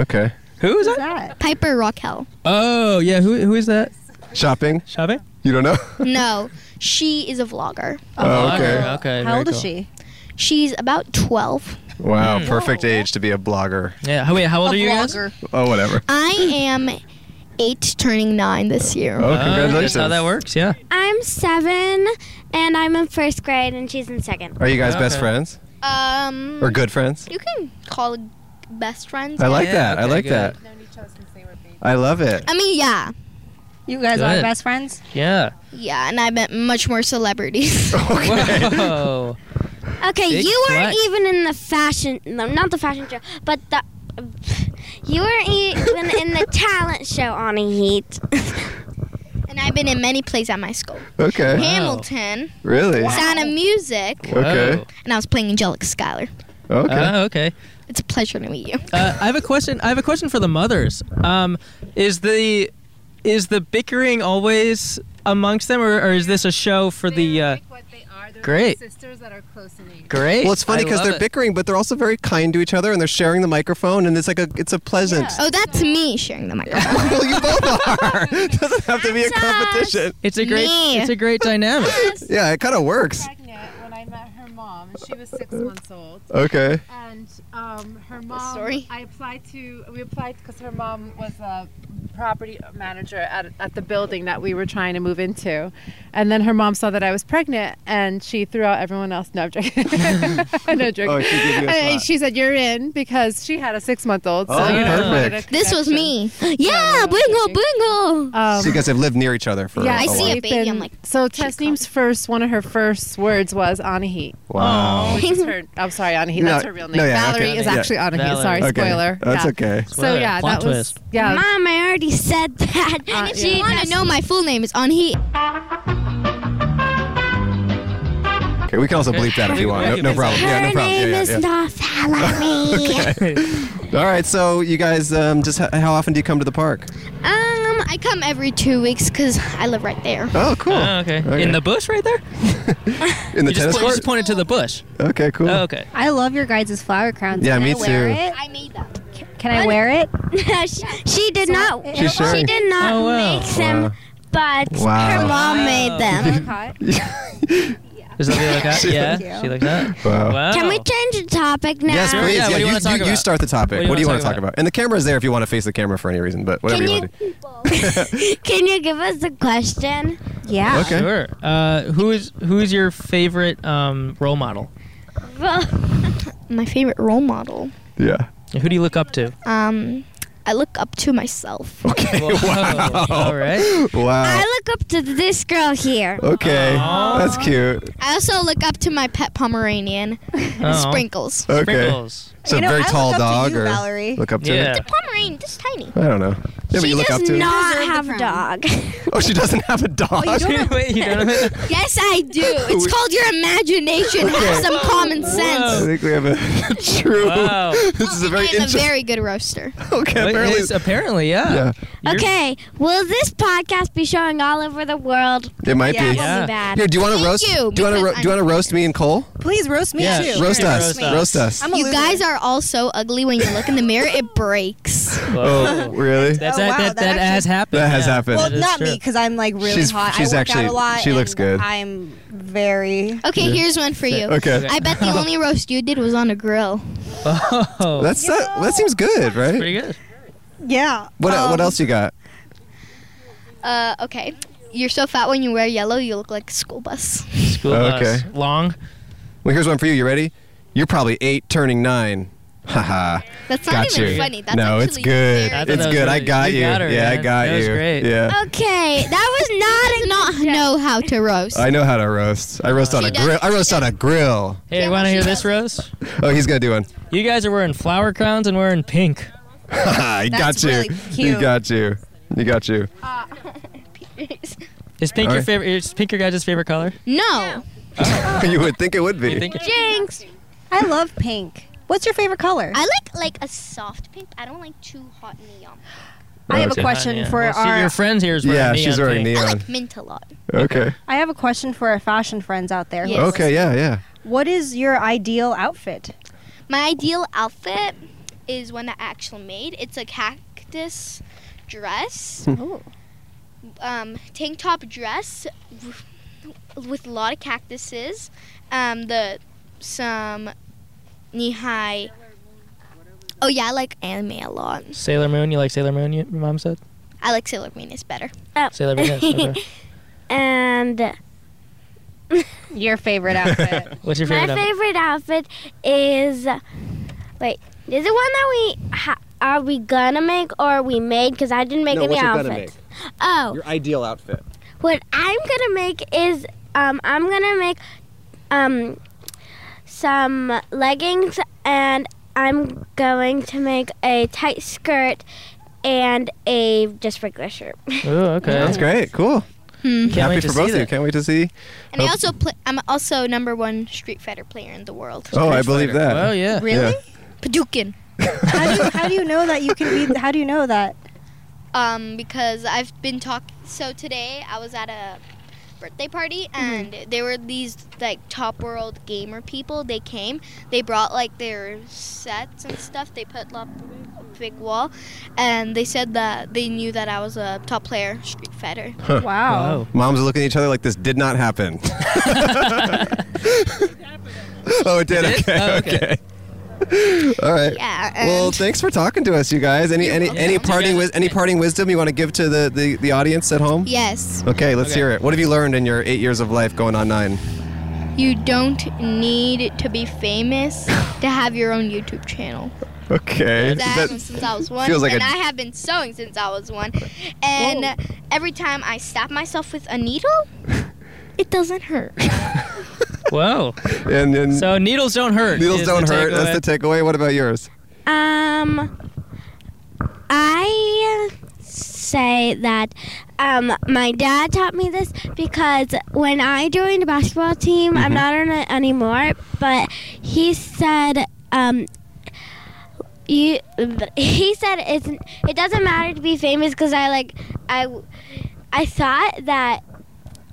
B: Okay.
A: Who is
D: Who's
A: that?
D: that?
H: Piper Raquel.
A: Oh, yeah. Who who is that?
B: Shopping?
A: Shabe?
B: You don't know?
H: No, she is a vlogger.
B: *laughs*
A: Uh-huh.
B: Oh, okay.
A: Okay.
D: How
A: very
D: old is
A: cool.
D: she?
H: She's about twelve.
B: Wow.
H: Mm. Oh.
B: Perfect age to be a blogger.
A: Yeah. Wait. How old are you guys?
D: Vlogger.
B: Oh, whatever.
H: I am eight, turning nine this year.
B: Oh,
A: Oh,
B: congratulations.
A: That's how that works. Yeah.
G: I'm seven, and I'm in first grade, and she's in second.
B: Are you guys best
A: Okay.
B: friends
H: Um,
B: or Oh. good friends?
H: you can call it best friends.
B: I like
A: Yeah,
B: that. I
A: okay,
B: like
A: good.
B: that. I love
H: *laughs*
B: it.
H: I mean, yeah,
D: You guys
A: Good.
D: are best friends?
A: Yeah.
B: *laughs*
H: yeah, and I met much more celebrities.
A: Whoa.
G: Okay,
A: Big
G: you weren't
A: flex.
G: even in the fashion, no, not the fashion show, but the. You weren't even in the talent show on a heat. *laughs*
H: and I've been in many plays at my school.
B: Okay.
H: Hamilton,
B: Really?
H: Sound of Music,
B: Okay.
H: and I was playing Angelica Schuyler.
A: Oh,
B: Okay.
A: okay.
H: It's a pleasure to meet you.
A: Uh, I have a question. I have a question for the mothers. Um, is the is the bickering always amongst them, or, or is this a show for the? Uh,
I: what they are. They're
A: great.
I: like sisters that are close in age.
A: great.
B: Well, it's funny
A: I
B: because
A: love
B: they're
A: it.
B: bickering, but they're also very kind to each other, and they're sharing the microphone, and it's like a it's a pleasant.
H: Oh, that's me sharing the microphone.
B: well, you both are. *laughs* Doesn't have to be a competition.
A: It's a great.
H: Me.
A: It's a great
B: *laughs*
A: dynamic.
B: Yeah, it kind of works. Uh-huh.
I: Pregnant when I met her mom, and she was six months old.
B: Okay.
I: And um, her mom,
H: story.
I: I applied to, we applied because her mom was a property manager at, at the building that we were trying to move into. And then her mom saw that I was pregnant and she threw out everyone else. No, I'm
B: *laughs*
I: joking. *laughs* no joke.
B: Oh, she gave you a
I: And
B: slot.
I: she said, You're in because she had a six month old. So,
B: Oh,
I: you know, we
B: perfect.
I: had a
H: *laughs* This was
I: connection.
H: me. Yeah, bingo, bingo.
I: Um,
B: so you guys have lived near each other for
I: yeah,
B: a
H: I see
B: while.
H: it.
I: we've
H: baby, I'm
I: been-
H: like,
I: so Tesneem's first, one of her first words was Anahit.
B: Wow.
I: Which is her, I'm sorry, Anahit. That's
B: No,
I: her real name.
B: no, yeah,
I: Valerie
B: okay.
I: is
A: Yeah.
I: actually Anahit.
A: Valerie.
I: Sorry,
B: Okay.
I: Oh, spoiler.
B: That's
I: yeah.
B: okay.
I: So
A: Spoiler.
I: yeah,
A: Plot
I: that was
A: twist.
I: yeah.
G: Mom, I already said that.
I: Uh,
H: If you want to know my full name, it's on heat.
B: Okay, we can also bleep that if you want. No, no problem.
G: Her
B: Yeah, no problem.
G: name
B: Yeah,
G: is
B: yeah, yeah.
G: not
B: *laughs*
G: Valerie.
B: All right, so you guys, um, just h- how often do you come to the park?
H: Um, I come every two weeks because I live right there.
B: Oh, cool.
A: Oh, okay. In the bush right there?
B: *laughs* in the
A: you,
B: tennis
A: just po- you
B: court.
A: just pointed to the bush.
B: Okay, cool.
A: Oh,
B: *laughs*
A: okay.
F: I love your guys' flower crowns.
B: Yeah,
F: Can
B: me
F: I wear
B: too.
F: It?
H: I made that.
F: Can I wear
D: *laughs*
F: it?
G: she, she did not.
B: She's
G: She
B: sharing.
G: did not
A: Oh, wow.
G: make them,
B: Wow.
G: but her
B: Wow.
G: mom
B: *laughs*
G: made them.
A: Does that look like that? Yeah. She like that.
B: Wow.
A: Wow.
G: Can we change the topic now?
B: Yes, please.
A: Yeah, what do you
B: you,
A: wanna talk
B: you
A: about?
B: start the topic. What do you, want to talk about? And the camera's there if you want to face the camera for any reason, but whatever
G: Can
B: you,
G: you,
B: want to do.
G: *laughs* can you give us a question?
F: Yeah.
B: Okay.
A: Sure. Uh, who is who is your favorite um, role model?
G: Well,
H: My favorite role model.
B: Yeah. *laughs*
A: Who do you look up to?
H: Um, I look up to myself.
B: Okay. Wow.
A: All right.
B: Wow.
G: I look up to this girl here.
B: Okay. That's cute.
H: I also look up to my pet Pomeranian,
A: Oh.
H: Sprinkles.
B: Okay.
A: Sprinkles.
B: So
D: You know,
B: very
D: I
B: tall
D: look up
B: dog
D: to you,
B: or
D: Valerie.
B: look up to
A: Yeah.
B: it?
H: Pomeranian, just tiny.
B: I don't know. Yeah, but
G: she
B: you look
G: does
B: up to it.
G: not
I: Deserve the
G: have a
I: crown.
G: dog.
B: Oh, she doesn't have a dog.
A: Wait, *laughs* you
B: *laughs*
A: don't know?
H: Yes, I do. It's called your imagination. Have some common sense.
B: I think we have a *laughs* true.
A: Wow.
B: *laughs* This is a very
H: I'm a
B: interesting. *laughs*
H: very good roaster.
B: okay,
A: Wait,
B: apparently.
A: it's- apparently, yeah. You're-
G: okay, will this podcast be showing all over the world?
B: It might be.
A: Yeah.
G: Too bad.
B: Here, do you want to
H: Thank
B: roast? do
H: you,
B: you want to
H: because
B: ro- do you want to roast me and Cole?
D: Please roast me
A: Yeah,
D: too.
A: sure.
B: Roast
A: can
B: us.
A: roast us.
B: Roast us.
D: I'm a
H: You
D: loser.
H: guys are all so ugly when you look in the mirror, it breaks.
A: *laughs*
B: Oh, really?
A: That's
D: Oh,
A: that,
D: wow, that
A: that, that has happened.
B: That has happened.
D: Well,
A: That is
D: not
A: true.
D: me because I'm like really
B: She's-
D: hot.
B: she's
D: I work
B: actually-
D: out a lot.
B: she
D: and
B: looks good.
D: I'm very.
H: Okay, here's one for you.
B: Okay.
H: I bet the only roast you did was on a grill.
A: Oh,
B: That's that, that seems good,
A: pretty
B: right?
A: good.
D: Yeah.
B: What uh,
D: um,
B: what else you got?
H: Uh, okay. You're so fat when you wear yellow, you look like a school bus.
A: School
B: Okay.
A: bus. Long.
B: Well, here's one for you. You ready? You're probably eight, turning nine. *laughs* Haha.
H: That's not
B: Got
H: even
B: you.
H: funny. That's
B: no,
H: actually
B: it's good.
H: very
A: I thought
B: It's
A: that was
B: good. I
A: really-
B: got
A: you
B: you.
A: got her,
B: yeah, I
A: man.
B: got
A: That was
B: you.
A: great.
B: Yeah.
G: Okay, that was
H: does
G: not
H: *laughs* not know how to roast.
B: I know how to roast. I roast on
H: Oh, She
B: a
H: does-
B: grill. I
H: she
B: roast on a grill.
A: Hey,
H: Yeah,
A: you want to
H: she
A: hear
H: does.
A: this, Rose?
B: Oh, he's gonna do one. *laughs*
A: You guys are wearing flower crowns and wearing pink.
B: I got
D: That's
B: you.
D: really
B: You
D: cute.
B: got you. You got you.
A: Is pink your
B: Alright.
A: favorite? Is pink your guys' favorite color?
H: no. Oh.
B: *laughs* you would think it would be.
A: Think it-
G: Jinx.
D: I love pink. What's your favorite color?
H: *laughs* I like like a soft pink. I don't like too hot neon.
D: I have a
B: Okay.
D: question
A: Yeah.
D: for
A: Well, see,
D: our.
A: your friend here is wearing
B: yeah,
A: neon
B: she's wearing
A: pink.
H: I
B: neon.
H: like mint a lot.
B: Okay.
D: I have a question for our fashion friends out there.
H: Yes.
B: Okay. Yeah. Yeah.
D: What is your ideal outfit?
H: My ideal outfit is one that I actually made. It's a cactus dress, um, tank top dress w- with a lot of cactuses. Um, the some knee high. Oh yeah, I like anime a lot.
A: Sailor Moon. You like Sailor Moon? You, your mom said.
H: I like Sailor Moon is better.
A: Sailor Moon.
D: *laughs*
A: yes, okay.
G: *laughs* And
D: Your favorite *laughs* outfit.
A: What's your
G: my
A: favorite? outfit?
G: favorite outfit is wait, is it one that we ha- are we gonna make or we made? Because I didn't make any outfits. Oh,
J: ideal outfit.
G: what I'm gonna make is um I'm gonna make um some leggings and I'm going to make a tight skirt and a just regular shirt. *laughs*
A: Ooh, okay.
B: That's great. Cool.
A: Can't wait
B: Happy
A: to
B: for
A: see
B: both of you.
A: that.
B: Can't wait to see.
H: And I
B: Oh.
H: also play. I'm also number one Street Fighter player in the world.
B: Oh, I believe that.
A: Well, yeah.
D: really?
H: Padukin.
D: How, do you, how do you know that you can be? How do you know that?
H: um, because I've been talk. So today I was at a birthday party and there were these like top world gamer people. They came. They brought like their sets and stuff. They put up a big wall, and they said that they knew that I was a top player Street Fighter.
B: Wow. Moms are looking at each other like this did not happen. oh, it did.
C: Did it?
B: Okay.
C: Oh,
B: okay. All right.
H: Yeah,
B: well,
H: and-
B: thanks for talking to us, you guys. Any any any parting wis- any parting wisdom you want to give to the, the, the audience at home?
H: Yes.
B: Okay, let's
H: Okay.
B: hear it. What have you learned in your eight years of life, going on nine?
H: You don't need to be famous to have your own YouTube channel.
B: Okay.
H: That happened since I was one,
B: feels like
H: and
B: a-
H: I have been sewing since I was one. And every time I stab myself with a needle, it doesn't hurt.
A: Whoa.
B: *laughs* And, and
A: so needles don't hurt.
B: Needles
A: is
B: don't
A: the
B: hurt.
A: takeaway.
B: That's the takeaway. What about yours?
G: Um, I say that um, my dad taught me this because when I joined the basketball team, I'm not on it anymore, but he said, um, you, he said it's, it doesn't matter to be famous because I like I, I thought that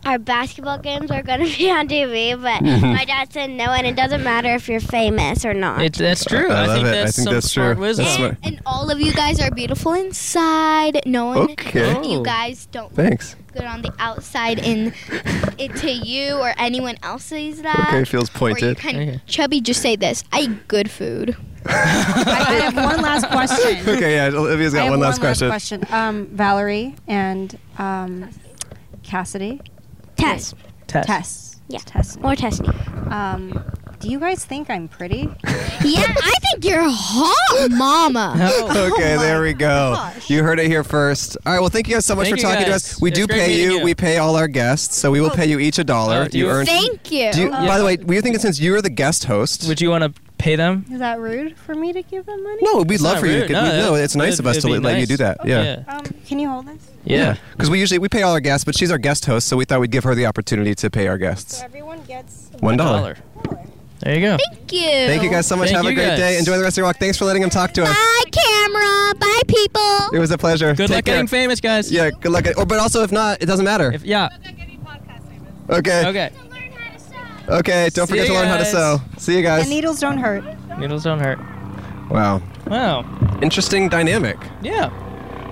G: our basketball games were going to *laughs* be on TV, but
B: Mhm.
G: my dad said no, and it doesn't matter if you're famous or not.
A: It's, that's true. I,
B: love
A: think
B: it.
A: that's
B: I think
A: some
B: that's true.
A: smart wisdom.
B: That's smart.
H: And all of you guys are beautiful inside. No one,
B: Okay.
H: you guys don't look
B: Thanks.
H: good on the outside, and it to you or anyone else sees that.
B: Okay, feels
H: Or
B: pointed.
H: Uh, you kind of chubby. Just say this: I eat good food.
K: I have one last question.
B: *laughs* okay, yeah. Olivia's
K: I
B: got
K: have
B: one last question.
K: question. Um, Valerie and um, Cassidy.
G: Tess.
A: Tess.
K: Tess.
G: Yeah.
K: Tess.
G: Or Tessney.
K: Um, do you guys think I'm pretty?
H: yeah, I think oh, you're hot, Mama.
B: *laughs*
A: Oh
B: okay, there we go. You heard it here first. All right, well, thank you guys so much
K: Thank
B: for
K: you
B: talking to
K: guys.
B: us. We
K: It's
B: do
K: great
B: pay
K: meeting
B: you.
K: you.
B: We pay all our guests, so we will pay you each a dollar.
A: Oh, do
B: you
A: you-
B: earn.
A: Thank you.
B: Do
K: Oh.
B: By the way, we you think since you're the guest host,
A: would you want to pay them?
K: Is that rude for me to give them money?
B: No, we'd love for you. to
A: rude.
B: get-
A: No,
B: we-
A: that-
B: no, it's nice
A: that'd-
B: of us to
A: it'd
B: let
A: be
B: you
A: nice. Oh,
B: do that. Yeah.
K: Um, can you hold this?
A: Yeah.
B: Because we usually we pay all our guests, but she's our guest host, so we thought we'd give her the opportunity to pay our guests.
K: Everyone gets
B: One dollar.
A: There you go.
H: Thank you.
B: Thank you guys so much.
A: Thank
B: Have a
A: you
B: great
A: guys.
B: day. Enjoy the rest of your walk. Thanks for letting him talk to us.
H: Bye, camera. Bye, people.
B: It was a pleasure.
A: Good
B: Take
A: luck
B: care.
A: getting famous, guys.
B: Yeah, good luck. At, or, but also, if not, it doesn't matter.
A: If, yeah.
B: Okay.
A: Okay.
B: Okay. Don't
A: See
B: forget to
A: you
B: learn how to
A: guys.
B: sew. See you guys.
K: And needles don't hurt.
A: Needles don't hurt.
B: Wow.
A: Wow.
B: Interesting dynamic.
A: Yeah.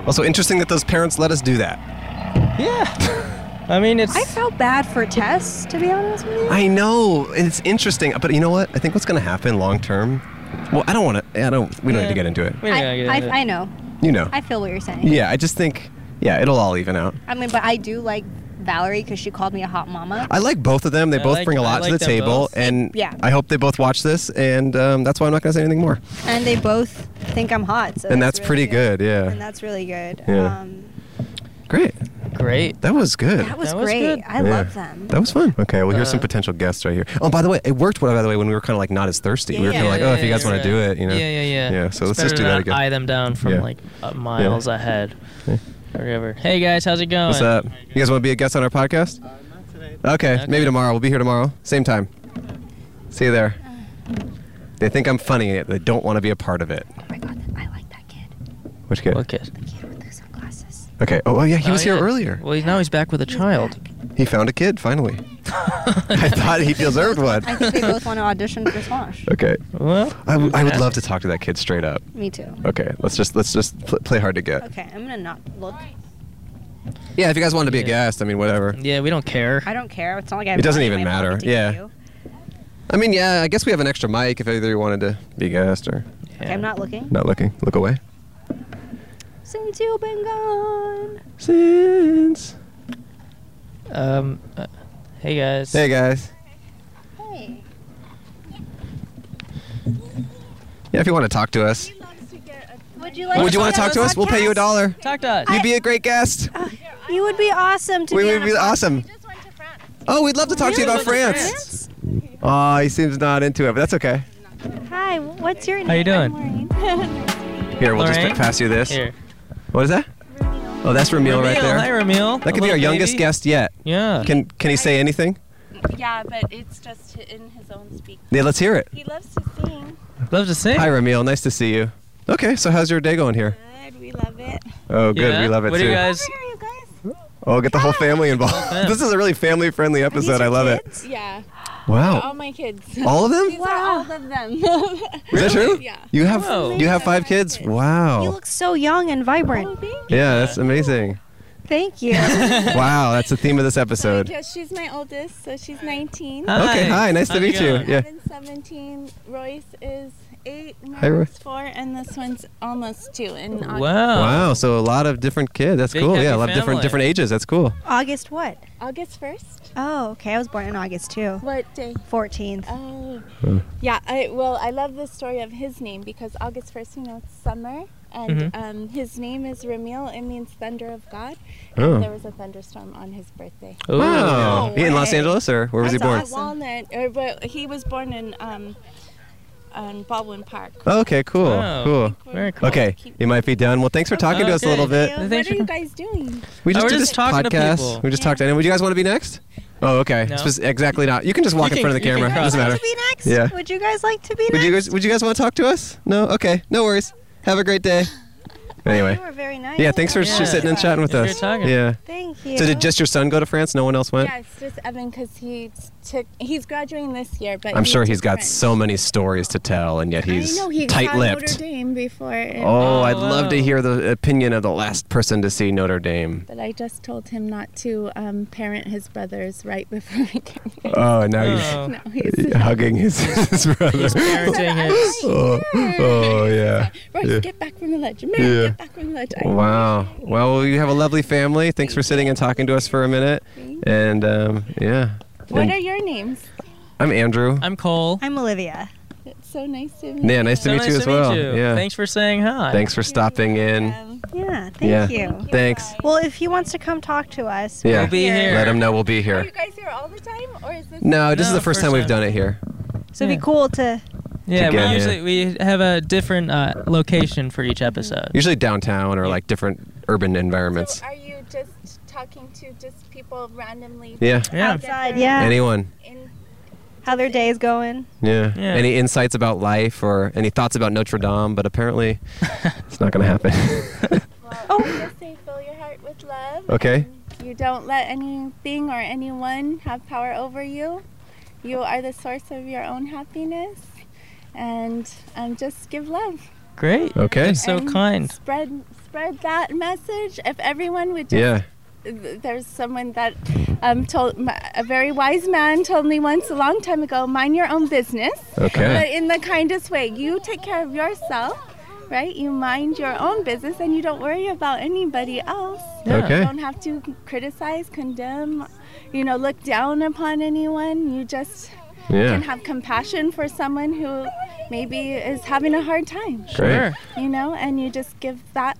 B: Also interesting that those parents let us do that.
A: Yeah. I mean, it's.
K: I felt bad for Tess, to be honest with you.
B: I know it's interesting, but you know what? I think what's going to happen long term. Well, I don't want to. I don't. We don't need to get into it.
K: I, I, I know.
B: You know.
K: I feel what you're saying.
B: Yeah, I just think. Yeah, it'll all even out.
K: I mean, but I do like Valerie because she called me a hot mama.
B: I like both of them. They
A: I
B: both
A: like-
B: bring a
A: I
B: lot
A: like
B: to the
A: them
B: table,
A: both.
B: and
K: Yeah.
B: I hope they both watch this. And um, that's why I'm not going to say anything more.
K: and they both think I'm hot. So
B: and that's,
K: really
B: pretty good. Yeah.
K: And that's really good.
B: Yeah.
K: Um,
B: Great.
A: Great.
B: That was good.
K: that was
A: That was
K: great.
A: good.
K: I
B: Yeah.
K: love them.
B: That was fun. Okay, well, here's some
A: Uh,
B: potential guests right here. Oh, by the way, it worked. By the way, when we were kind of like not as thirsty, we were kind of like, oh, if you guys want to do it, you know.
A: Yeah, yeah, yeah.
B: Yeah. So
A: It's
B: let's just
A: better
B: do
A: to
B: that
A: not
B: again.
A: Eye them down from
B: Yeah.
A: like uh, miles ahead.
B: Yeah.
A: Or whatever. Hey guys, how's it going?
B: What's up? Oh, You guys want to be a guest on our podcast? Uh, not today. Okay, maybe tomorrow. We'll be here tomorrow, same time. See you there. They think I'm funny. and They don't want to be a part of it.
K: Oh my god, I like that kid.
B: Which kid?
A: What kid?
K: The kid with the sunglasses.
B: Okay. Oh, oh yeah, he
A: Oh,
B: was here
A: yeah.
B: earlier.
A: Well, now he's back with a child. *laughs*
B: He found a kid *laughs* finally. I thought he deserved one.
K: I think they both want to audition for Smosh.
B: *laughs* Okay.
A: Well,
B: I, w- I would love to talk to that kid straight up.
K: Me too.
B: Okay, let's just let's just pl- play hard to get.
K: Okay, I'm gonna not look.
B: Yeah, if you guys wanted to be a
A: Yeah.
B: guest, I mean, whatever.
A: Yeah, we don't care.
K: I don't care. It's not like I.
B: It doesn't
K: have
B: even
K: my
B: matter.
K: pocket to
B: Yeah.
K: give you.
B: I mean, yeah, I guess we have an extra mic if either you wanted to be a guest or
K: Okay, I'm not looking.
B: not looking. Look away.
K: Since you've been gone.
B: Since.
A: Um. uh, hey guys.
B: Hey, guys.
K: Hey.
B: Yeah, if you want to talk to us,
K: Would you
B: would you want to talk to us? We'll pay you a dollar.
A: Talk to us.
B: You'd be a great guest.
K: You would be awesome to
B: We
K: be
B: would
K: on
B: be
K: a podcast.
B: awesome. Oh, we'd love to talk to you about France. Oh, he seems not into it, but that's okay.
K: Hi, what's your name?
A: How you doing?
K: I'm
B: *laughs*
K: Maureen.
B: Here, we'll just
A: Lorraine?
B: pass you this.
A: Here.
B: What is that? Oh, that's Ramil right
A: Ramil,
B: there.
A: Hi, Ramil.
B: That could be
A: Hello,
B: our youngest
A: baby.
B: guest yet.
A: Yeah.
B: Can can he say anything?
L: Yeah, but it's just in his own speak.
B: Yeah, let's hear it.
L: He loves to sing.
A: Love to sing.
B: Hi, Ramil. Nice to see you. Okay, so how's your day going here?
M: excited. We love it.
B: Oh, good. We love it
A: what
B: too.
A: do you guys?
B: Oh, get the whole family involved. *laughs* this is a really family friendly episode. I love it.
L: Yeah.
B: Wow.
L: All my kids.
B: All of them?
L: These wow. all of them. Is
B: Is that true?
L: Yeah.
B: You have you have five kids? Wow.
D: You look so young and vibrant.
B: yeah, that's amazing.
D: Thank
A: *laughs*
D: you.
B: wow, that's the theme of this episode.
M: Yeah, she's my oldest, so she's 19.
B: Okay, hi, nice to meet you. Oh, Yeah.
M: Evan's 17. Royce is 8.
B: Hi, Roy.
M: Mark's 4. And this one's almost 2. In August.
B: Wow. So a lot of different kids. That's
A: Big
B: cool. Yeah,
A: happy
B: a lot of different
A: family.
B: different ages. That's cool.
D: August what?
M: August 1st?
D: Oh, okay. I was born in August too.
M: What day?
D: 14th.
M: Oh.
B: Hmm.
M: Yeah, I well, I love the story of his name because August 1st, you know, it's summer. And
B: Mhm.
M: um, his name is Ramil. It means thunder of God.
B: Oh.
M: And there was a thunderstorm on his birthday.
B: Wow. in Los Angeles or where was he
M: That's
B: born?
M: awesome. Walnut, or, but he was born in um, on Baldwin Park.
B: Oh, okay, cool.
M: Wow.
B: Cool.
M: Very cool.
B: Okay, you might be done. Well, thanks for talking to us a little bit.
M: What are you guys doing?
B: We just
A: we're
B: did this
A: just talking to
B: podcast.
A: people.
B: We just talked to anyone. Would you guys want to be next? Oh, okay.
A: No.
B: Spec- exactly not. You can just walk
A: You
B: in
A: can-
B: front of the
A: you can
B: camera.
A: cross
B: Doesn't matter.
A: out.
D: be next?
B: Yeah.
D: Would you guys like to be
B: Would
D: next?
B: you guys Would you guys want to talk to us? No. Okay. No worries. Have a great day. Anyway.
D: You were very nice.
B: Yeah. Thanks for
D: Yeah.
B: sitting and chatting with
A: Thanks
B: us.
A: for talking.
B: Yeah.
D: Thank
B: So
D: you.
B: did just your son go to France? No one else went.
M: Yeah, it's just Evan because he took. He's graduating this year, but
B: I'm
M: he
B: sure
M: took
B: he's got
M: French.
B: so many stories to tell, and yet he's
M: I know he got Notre
B: tight-lipped.
M: Dame before. and-
B: Oh, I'd love to hear the opinion of the last person to see Notre Dame.
M: But I just told him not to um, parent his brothers right before I came here.
B: Oh, and now
M: Oh.
B: he's,
M: *laughs* No, he's-
B: hugging his, *laughs* his brother.
A: parenting
M: his-
B: Oh, oh, yeah.
M: Royce,
B: yeah.
M: get back from the ledge. Mary,
B: Yeah.
M: get back from the ledge. I-
B: Wow. Well, you have a lovely family. Thanks for sitting and talking to us for a minute. And um, yeah.
M: What
B: And
M: are your names?
B: I'm Andrew.
A: I'm Cole.
D: I'm Olivia.
M: It's so nice to meet you.
B: Yeah, nice to
A: So
B: meet
A: nice
B: you
A: to
B: as well.
A: meet you.
B: Yeah.
A: Thanks for saying hi.
B: Thanks for stopping in.
D: Yeah. Thank
B: Yeah.
D: you.
B: Thanks.
D: Well, if he wants to come talk to us,
B: Yeah.
D: we're here.
B: Let him know we'll be
M: Are
B: here.
M: Oh, you guys here all the time, or is this?
B: No, this is the first, time, we've done it here.
D: So it'd be cool to.
A: Yeah,
B: Together.
A: we usually we have a different uh, location for each episode.
B: Usually downtown or like different urban environments.
M: Are you just talking to just people randomly?
B: Yeah.
A: Yeah.
D: Outside, yeah.
B: Anyone.
D: How their day is going.
B: Yeah.
D: Yeah.
B: Any insights about life or any thoughts about Notre Dame? But apparently, it's not going to happen. *laughs*
M: Oh. I just say fill your heart with love.
B: Okay.
M: You don't let anything or anyone have power over you. You are the source of your own happiness, and um, just give love.
A: Great.
B: Okay.
A: That's so
M: And
A: kind.
M: Spread spread that message. If everyone would just
B: Yeah.
M: Th- there's someone that um, told m- a very wise man told me once a long time ago mind your own business
B: Okay.
M: but in the kindest way you take care of yourself right you mind your own business and you don't worry about anybody else
B: Yeah. Okay.
M: you don't have to criticize condemn you know look down upon anyone you just
B: Yeah.
M: can have compassion for someone who maybe is having a hard time
B: Sure.
M: you know, and you just give that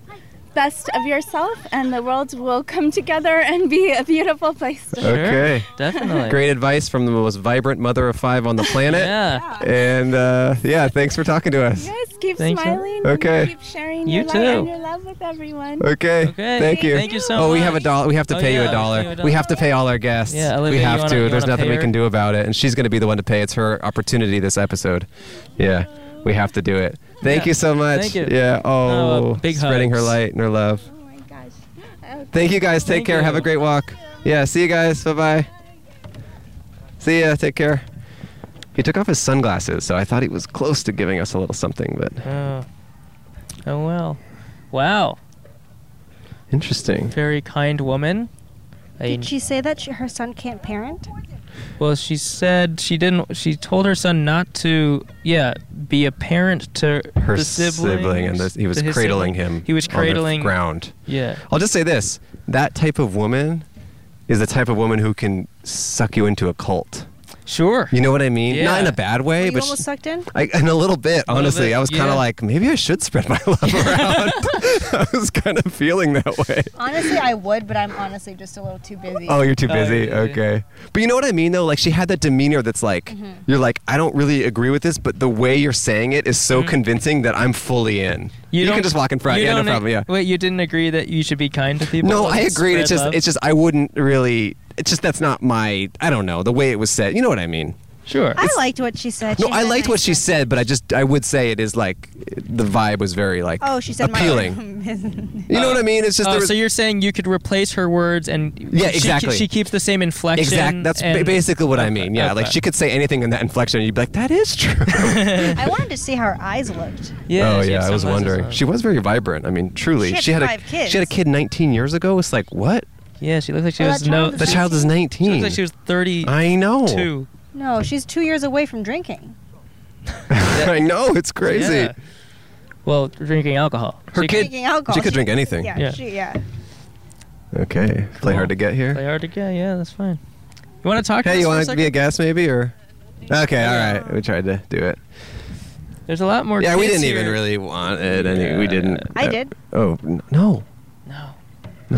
M: best of yourself, and the world will come together and be a beautiful
B: *laughs*
M: place. To live.
B: Okay.
A: Definitely.
B: Great advice from the most vibrant mother of five on the planet.
A: *laughs* Yeah.
B: And uh, yeah, thanks for talking to us.
M: Yes, keep
B: Thanks, Ron.
M: smiling.
B: Okay.
M: And keep sharing
B: You
M: your light and
B: too.
M: your love with everyone.
B: Okay. Thank you.
A: Thank you so
B: oh, we have a
A: much.
B: dollar. We have to
A: Oh,
B: pay you
A: yeah,
B: a
A: we
B: dollar.
A: have to
B: We have to pay all our guests.
A: Yeah, Olivia,
B: we
A: you
B: have
A: wanna-
B: to.
A: you
B: There's
A: wanna
B: nothing we
A: pay
B: can
A: her?
B: do about it, and she's going to be the one to pay. It's her opportunity this episode. Yeah, we have to do it. Thank
A: Yeah.
B: you so much.
A: Thank you.
B: Yeah.
A: Oh,
B: Oh,
A: uh, big
B: spreading her
A: hugs.
B: light and her love. Thank you guys. Take
A: Thank
B: care. Have a
A: you.
B: great walk. Yeah. See you guys. Bye bye. See ya. Take care. He took off his sunglasses, so I thought he was close to giving us a little something, but
A: Oh. Oh well. Wow.
B: interesting.
A: Very kind woman. I-
D: Did she say that she, her son can't parent?
A: well, she said she didn't. She told her son not to. Yeah, be a parent to
B: Her
A: the siblings,
B: sibling, and this, he was
A: to his
B: cradling
A: sibling.
B: him.
A: He was
B: on the
A: cradling.
B: ground.
A: Yeah.
B: I'll just say this: that type of woman is the type of woman who can suck you into a cult.
A: Sure.
B: You know what I mean? Not in
A: Yeah.
B: a bad way,
D: Were you
B: but
D: almost
B: she-
D: sucked in?
B: I, in a little bit,
A: Little
B: honestly,
A: bit,
B: I was kind
A: yeah.
B: of like, maybe I should spread my *laughs* love around. I was kind of feeling that
D: *laughs*
B: way.
K: Honestly, I would, but I'm honestly just a little too busy.
B: Oh, you're too busy. Okay. But you know what I mean, though. Like she had that demeanor that's like,
D: Mm-hmm.
B: you're like, I don't really agree with this, but the way you're saying it is so convincing that I'm fully in. You,
A: don't-
B: can just walk in front.
A: Mm-hmm. you
B: Yeah, no
A: don't ag-
B: problem. Yeah.
A: Wait, you didn't agree that you should be kind to people?
B: No, I
A: and
B: agreed. It's
A: spread
B: just,
A: love?
B: it's just, I wouldn't really. It's just that's not my. I don't know the way it was said. You know what I mean?
A: Sure.
D: I liked what she said.
B: No,
D: She
B: I
D: had
B: liked
D: nice-
B: what she said, but I just I would say it is like the vibe was very like
D: Oh, she said my-
B: appealing.
D: *laughs*
B: You know what I mean? It's just
A: Oh,
B: there was-
A: so you're saying you could replace her words and
B: Yeah,
A: she-
B: exactly.
A: She, keeps the same inflection.
B: Exact. That's ba-
A: and-
B: basically what I mean. Yeah, like
A: okay.
B: she could say anything in that inflection, and you'd be like, "That is
A: *laughs*
B: true."
D: *laughs* I wanted to see how her eyes looked.
B: oh yeah, I was wondering. She was very vibrant. I mean, truly,
D: She had
B: a
D: five kids.
B: she had a kid 19 years ago. It's like what?
A: Yeah, she looks like she Well, was that no- child
B: The
A: is
B: child is 19.
A: She looks like she was 30.
B: I know.
A: Two.
D: No, she's two years away from drinking.
B: *laughs* I know. It's crazy.
A: Yeah. Well, drinking alcohol.
B: Her
A: She
B: kid.
D: Drinking alcohol.
B: She could drink anything.
D: Yeah, She, yeah.
B: Okay. Play hard to get here.
A: Play hard to get. Yeah, that's fine. You want to talk? to
B: Hey,
A: us
B: you
A: for
B: want to
A: second?
B: be a guest maybe or? Okay, all right. We tried to do it.
A: There's a lot more.
B: yeah, we
A: kids
B: didn't even
A: here.
B: really want it. Any, we didn't.
D: I did.
B: Oh n- no.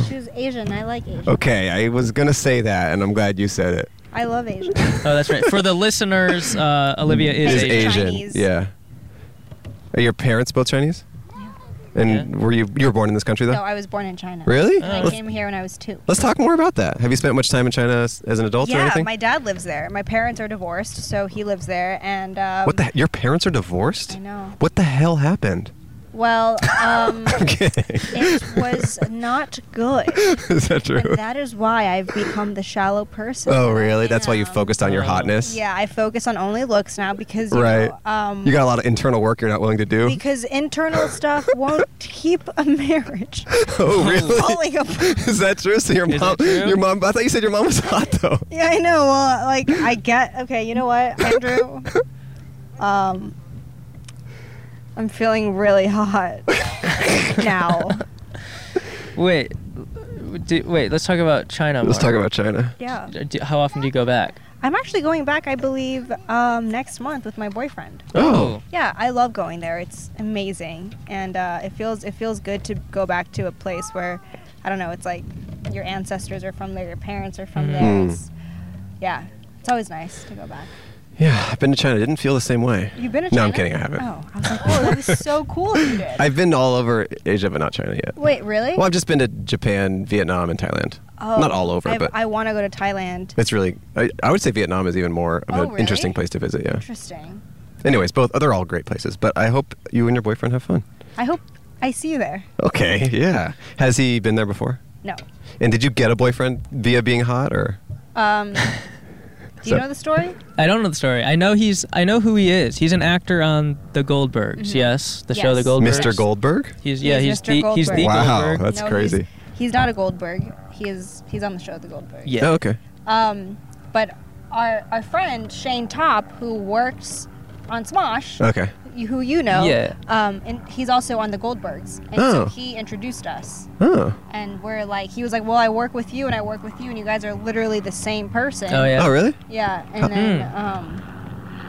D: She was Asian. I like Asian.
B: Okay, I was gonna say that, and I'm glad you said it.
D: I love
B: *laughs*
D: Asian.
A: Oh, that's right. For the listeners, uh, Olivia is,
B: Is
A: Asian.
D: Chinese.
B: Yeah. Are your parents both Chinese? And were you you were born in this country though?
D: No, I was born in China.
B: Really?
D: And I
B: Oh.
D: came here when I was two.
B: Let's talk more about that. Have you spent much time in China as, as an adult or
D: yeah,
B: anything?
D: my dad lives there. My parents are divorced, so he lives there. And um,
B: what the? he- Your parents are divorced?
D: I know.
B: What the hell happened?
D: Well,
B: *laughs*
D: um,
B: I'm kidding.
D: it was
B: *laughs*
D: not good.
B: Is that true?
D: And that is why I've become the shallow person.
B: oh, really? That's why you focused on your hotness.
D: um, Yeah, I focus on only looks now because you
B: Right.
D: know, um,
B: you got a lot of internal work you're not willing to do.
D: because internal stuff won't keep a marriage.
B: *laughs*
D: *laughs*
B: oh, really?
D: Falling
B: *laughs*
D: apart.
B: Is that true? So your mom, your mom. I thought you said your mom was hot though.
D: Yeah, I know. Well, like I get. Okay, you know what, Andrew? Um, I'm feeling
B: *laughs*
D: really hot now.
A: Wait, do, wait. Let's talk about China.
B: *laughs* Let's
A: more.
B: talk about China.
D: Yeah.
A: Do, how often do you go back?
D: I'm actually going back, I believe, um, next month with my boyfriend.
A: Oh.
D: Yeah, I love going there. It's amazing, and uh, it feels it feels good to go back to a place where, I don't know, it's like your ancestors are from there, your parents are from there.
B: Mhm.
D: It's, yeah, it's always nice to go back.
B: Yeah, I've been to China. It didn't feel the same way.
D: You've been to
B: No,
D: China?
B: I'm kidding. I haven't.
D: Oh, I was like, oh, that was so cool. if You did.
B: *laughs* I've been all over Asia, but not China yet.
D: Wait, really? Oh,
B: Well, I've just been to Japan, Vietnam, and Thailand. not all over,
D: I,
B: but
D: I want to go to Thailand.
B: it's really. I, I would say Vietnam is even more of
D: Oh,
B: an
D: really?
B: interesting place to visit. Yeah.
D: Interesting.
B: Anyways, both they're all great places, but I hope you and your boyfriend have fun.
D: I hope I see you there.
B: Okay. Yeah. Has he been there before?
D: No.
B: And did you get a boyfriend via being hot, or? *laughs*
D: Um, do you
A: So-
D: know the story?
A: I don't know the story. I know he's. I know who he is. He's an actor on The Goldbergs.
D: Mhm.
A: Yes, the show The
D: Yes.
A: Goldbergs.
B: Mr. Goldberg?
A: He's yeah.
D: He
A: He's
D: is Mr.
A: the. He's the
D: Goldberg.
B: Wow,
A: Goldberg.
B: *laughs* that's
D: No, he's-
B: crazy.
D: He's not a Goldberg. He is. He's on the show The Goldberg.
A: Yeah.
B: Oh, okay.
D: Um, but our our friend Shane Top, who works on Smosh,
B: Okay.
D: you- who you know,
B: Uh. Yeah.
D: Um, and he's also on The Goldbergs, and
B: Oh.
D: so he introduced us.
B: Oh.
D: And we're like, he was like, well, I work with you, and I work with you, and you guys are literally the same person.
B: Oh, yeah. Oh, really?
D: Yeah.
B: Huh.
D: And then, um,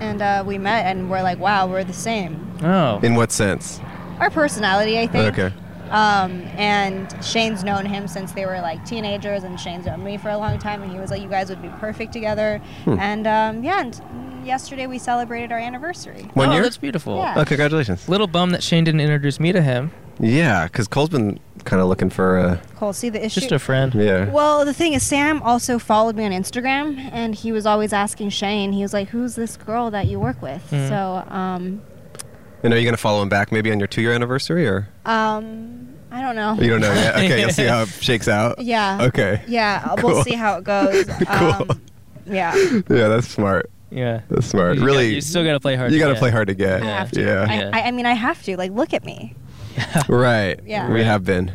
D: and uh, we met, and we're like, wow, we're the same.
A: Oh.
B: In what sense?
D: Our personality, I think.
B: Okay.
D: Um, and Shane's known him since they were like teenagers, and Shane's known me for a long time. And he was like, "You guys would be perfect together."
B: Hmm.
D: And um, yeah, and yesterday we celebrated our anniversary.
B: One
A: oh,
B: year?
A: that's beautiful.
D: Yeah.
B: Oh, congratulations.
A: Little bum that Shane didn't introduce me to him.
B: Yeah, because Cole's been kind of looking for a.
D: Cole, see the issue.
A: friend.
B: Yeah.
D: Well, the thing is, Sam also followed me on Instagram, and he was always asking Shane. He was like, "Who's this girl that you work with?"
B: Mhm.
D: So, um,
B: And are you going to follow him back maybe on your two year anniversary or?
D: um, I don't know.
B: You don't know yet. Okay, you'll see how
D: *laughs*
B: it shakes out.
D: Yeah.
B: Okay.
D: Yeah, uh,
B: Cool.
D: we'll see how it goes.
B: *laughs* cool.
D: Um, yeah.
B: Yeah, that's smart.
A: Yeah.
B: That's smart.
A: You
B: really.
A: got- you still gotta play hard
B: You
A: to
B: got to
A: get.
B: play hard to get.
D: I have to.
B: Yeah.
D: I, I, I mean, I have to. Like, look at me.
B: right.
D: Yeah.
B: We have been.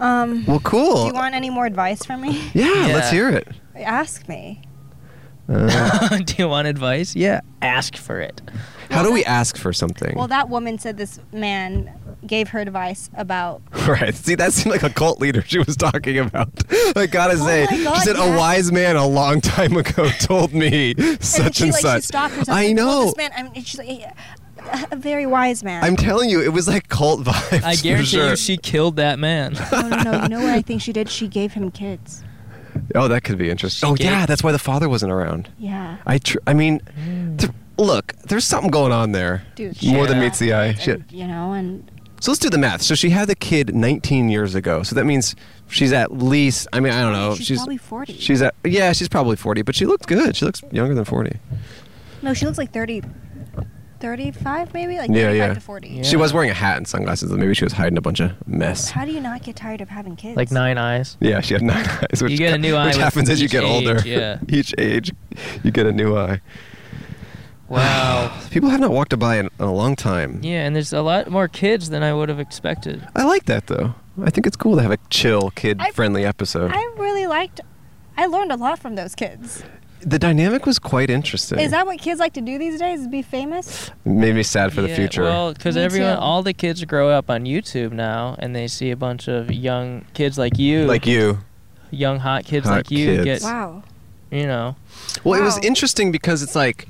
D: Um,
B: Well, cool.
D: Do you want any more advice from me? *laughs*
B: Yeah, let's hear it.
D: Ask me. *laughs*
A: *laughs* do you want advice? Yeah. Ask
B: *laughs*
A: for it.
B: How do we ask for something?
D: Well, that woman said this man gave her advice about.
B: *laughs* Right. See, that seemed like a cult leader she was talking about. *laughs* I gotta say,
D: Oh my God,
B: she said
D: yeah.
B: a wise man a long time ago *laughs* told me such
D: she,
B: and
D: like, She
B: such.
D: stopped herself.
B: I
D: like, well,
B: know.
D: this man, I'm, and she's like, "Yeah, a- a very wise man.
B: I'm telling you, it was like cult vibes.
A: I
B: for
A: guarantee
B: sure.
A: you, she killed
B: *laughs*
A: that man.
D: *laughs* oh, no, no. You know what I think she did? She gave him kids.
B: Oh, that could be interesting. Oh,
A: gave-
B: yeah, that's why the father wasn't around.
D: Yeah.
B: I tr- I mean, th- look, there's something going on there.
D: Dude,
B: more
D: shit.
B: than meets the eye. Shit.
D: You know, and
B: So let's do the math. So she had the kid 19 years ago. So that means she's at least. I mean, I don't know.
K: She's probably 40.
B: She's at yeah, she's probably 40, but she looked good. She looks younger than 40.
K: No, she looks like 30, 35 maybe? Like
B: yeah,
K: 35
B: yeah.
K: to 40.
B: She was wearing a hat and sunglasses, though maybe she was hiding a bunch of mess.
K: How do you not get tired of having kids?
A: Like nine eyes.
B: Yeah, she had nine *laughs* eyes. Which
A: You get a new eye
B: Which
A: with
B: happens as you
A: each
B: get older.
A: age, yeah.
B: *laughs* each age, you get a new eye.
A: Wow.
B: *sighs* People have not walked by in, in a long time.
A: *sighs* Yeah, and there's a lot more kids than I would have expected.
B: I like that though. I think it's cool to have a chill, kid-friendly episode.
K: I really liked, I learned a lot from those kids.
B: the dynamic was quite interesting.
K: Is that what kids like to do these days? Is be famous?
B: Made me sad for the
A: Yeah,
B: future.
A: Well, because
K: Me
A: everyone,
K: too.
A: all the kids grow up on YouTube now, and they see a bunch of young kids like you,
B: like you.
A: young hot kids
B: Hot
A: like you,
B: kids.
A: get
K: Wow.
A: you know.
B: Well, it was interesting because it's like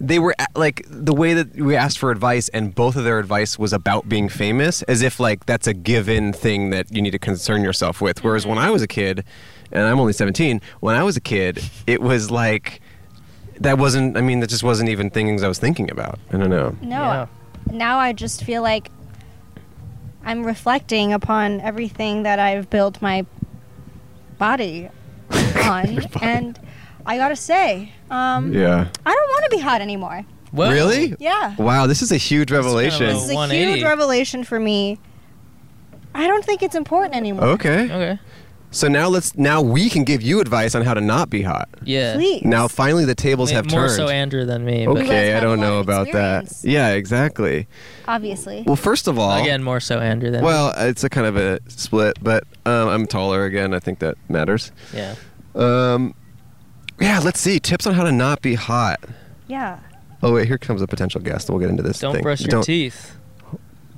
B: they were a- like the way that we asked for advice and both of their advice was about being famous as if like that's a given thing that you need to concern yourself with whereas when I was a kid and I'm only 17 when I was a kid it was like that wasn't I mean that just wasn't even things I was thinking about I don't know
K: No. Now I just feel like I'm reflecting upon everything that I've built my
B: *laughs*
K: body on, and I gotta say, um,
B: yeah
K: I don't want to be hot anymore.
B: really
K: Yeah.
B: wow this is a huge revelation
K: This is a huge revelation for me. I don't think it's important anymore.
B: okay
A: okay
B: so now let's now we can give you advice on how to not be hot
A: Yeah.
K: Please.
B: Now finally the tables
A: Ma-
B: have
A: more
B: turned.
A: so Andrew than me. but-
B: okay, I don't know about that. Yeah, exactly.
K: Obviously.
B: Well, first of all,
A: Again, more so Andrew than
B: well, it's a kind of a split, but um, I'm taller again. I think that matters.
A: me. Yeah.
B: Um, yeah, let's see tips on how to not be hot.
K: Yeah.
B: Oh wait, here comes a potential guest. We'll get into this.
A: Don't
B: thing.
A: brush your teeth.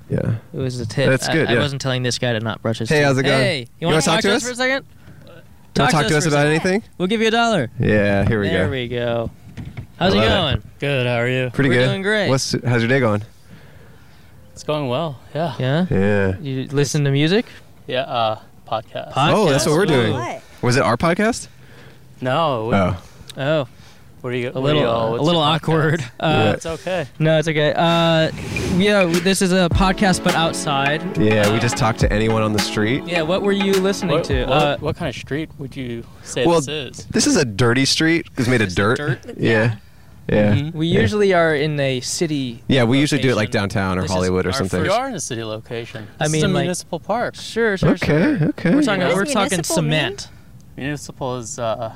B: Yeah.
A: It was a tip.
B: That's
A: I-
B: good,
A: I,
B: yeah.
A: wasn't telling this guy to not brush his
B: Hey,
A: teeth.
B: how's it going?
A: Hey,
B: You
A: you,
B: wanna
A: want to
B: talk to us?
A: for a second?
B: Wanna talk to us
A: for a
B: about
A: second.
B: anything?
A: We'll give you a dollar.
B: Yeah, here we
A: there
B: go.
A: we go. How's it
B: Hello.
A: going? Good. How are you?
B: Pretty
A: We're
B: good.
A: Doing great.
B: What's how's your day going?
N: It's going well. Yeah.
A: yeah?
B: Yeah.
A: You listen to music?
N: Yeah. Uh, podcast.
B: Oh, that's what we're doing. Was it our podcast?
N: No. We,
B: Oh.
A: Oh.
N: What are you?
A: A little, a
B: *laughs*
A: little awkward.
N: Uh, It's okay.
A: No, it's okay. Uh, yeah, w- this is a podcast, but outside.
B: Yeah, we just talked to anyone on the street.
A: Yeah, what were you listening
N: What,
A: to?
N: what,
A: uh,
N: what kind of street would you say
B: well,
N: this is?
B: a dirty street. It's made of dirt.
N: dirt?
B: Yeah. Yeah.
A: Mm-hmm. we
B: Yeah.
A: usually are in a city.
B: Yeah, we usually do it like downtown or
A: This is
B: Hollywood or
A: our
B: something.
N: You are in a city location.
A: I
N: This is
A: mean,
N: a
A: like-
N: municipal park.
A: Sure, sure.
B: Okay,
A: sure.
B: okay.
A: We're talking.
N: What does
A: We're talking
N: municipal mean?
A: cement.
N: Municipal is uh,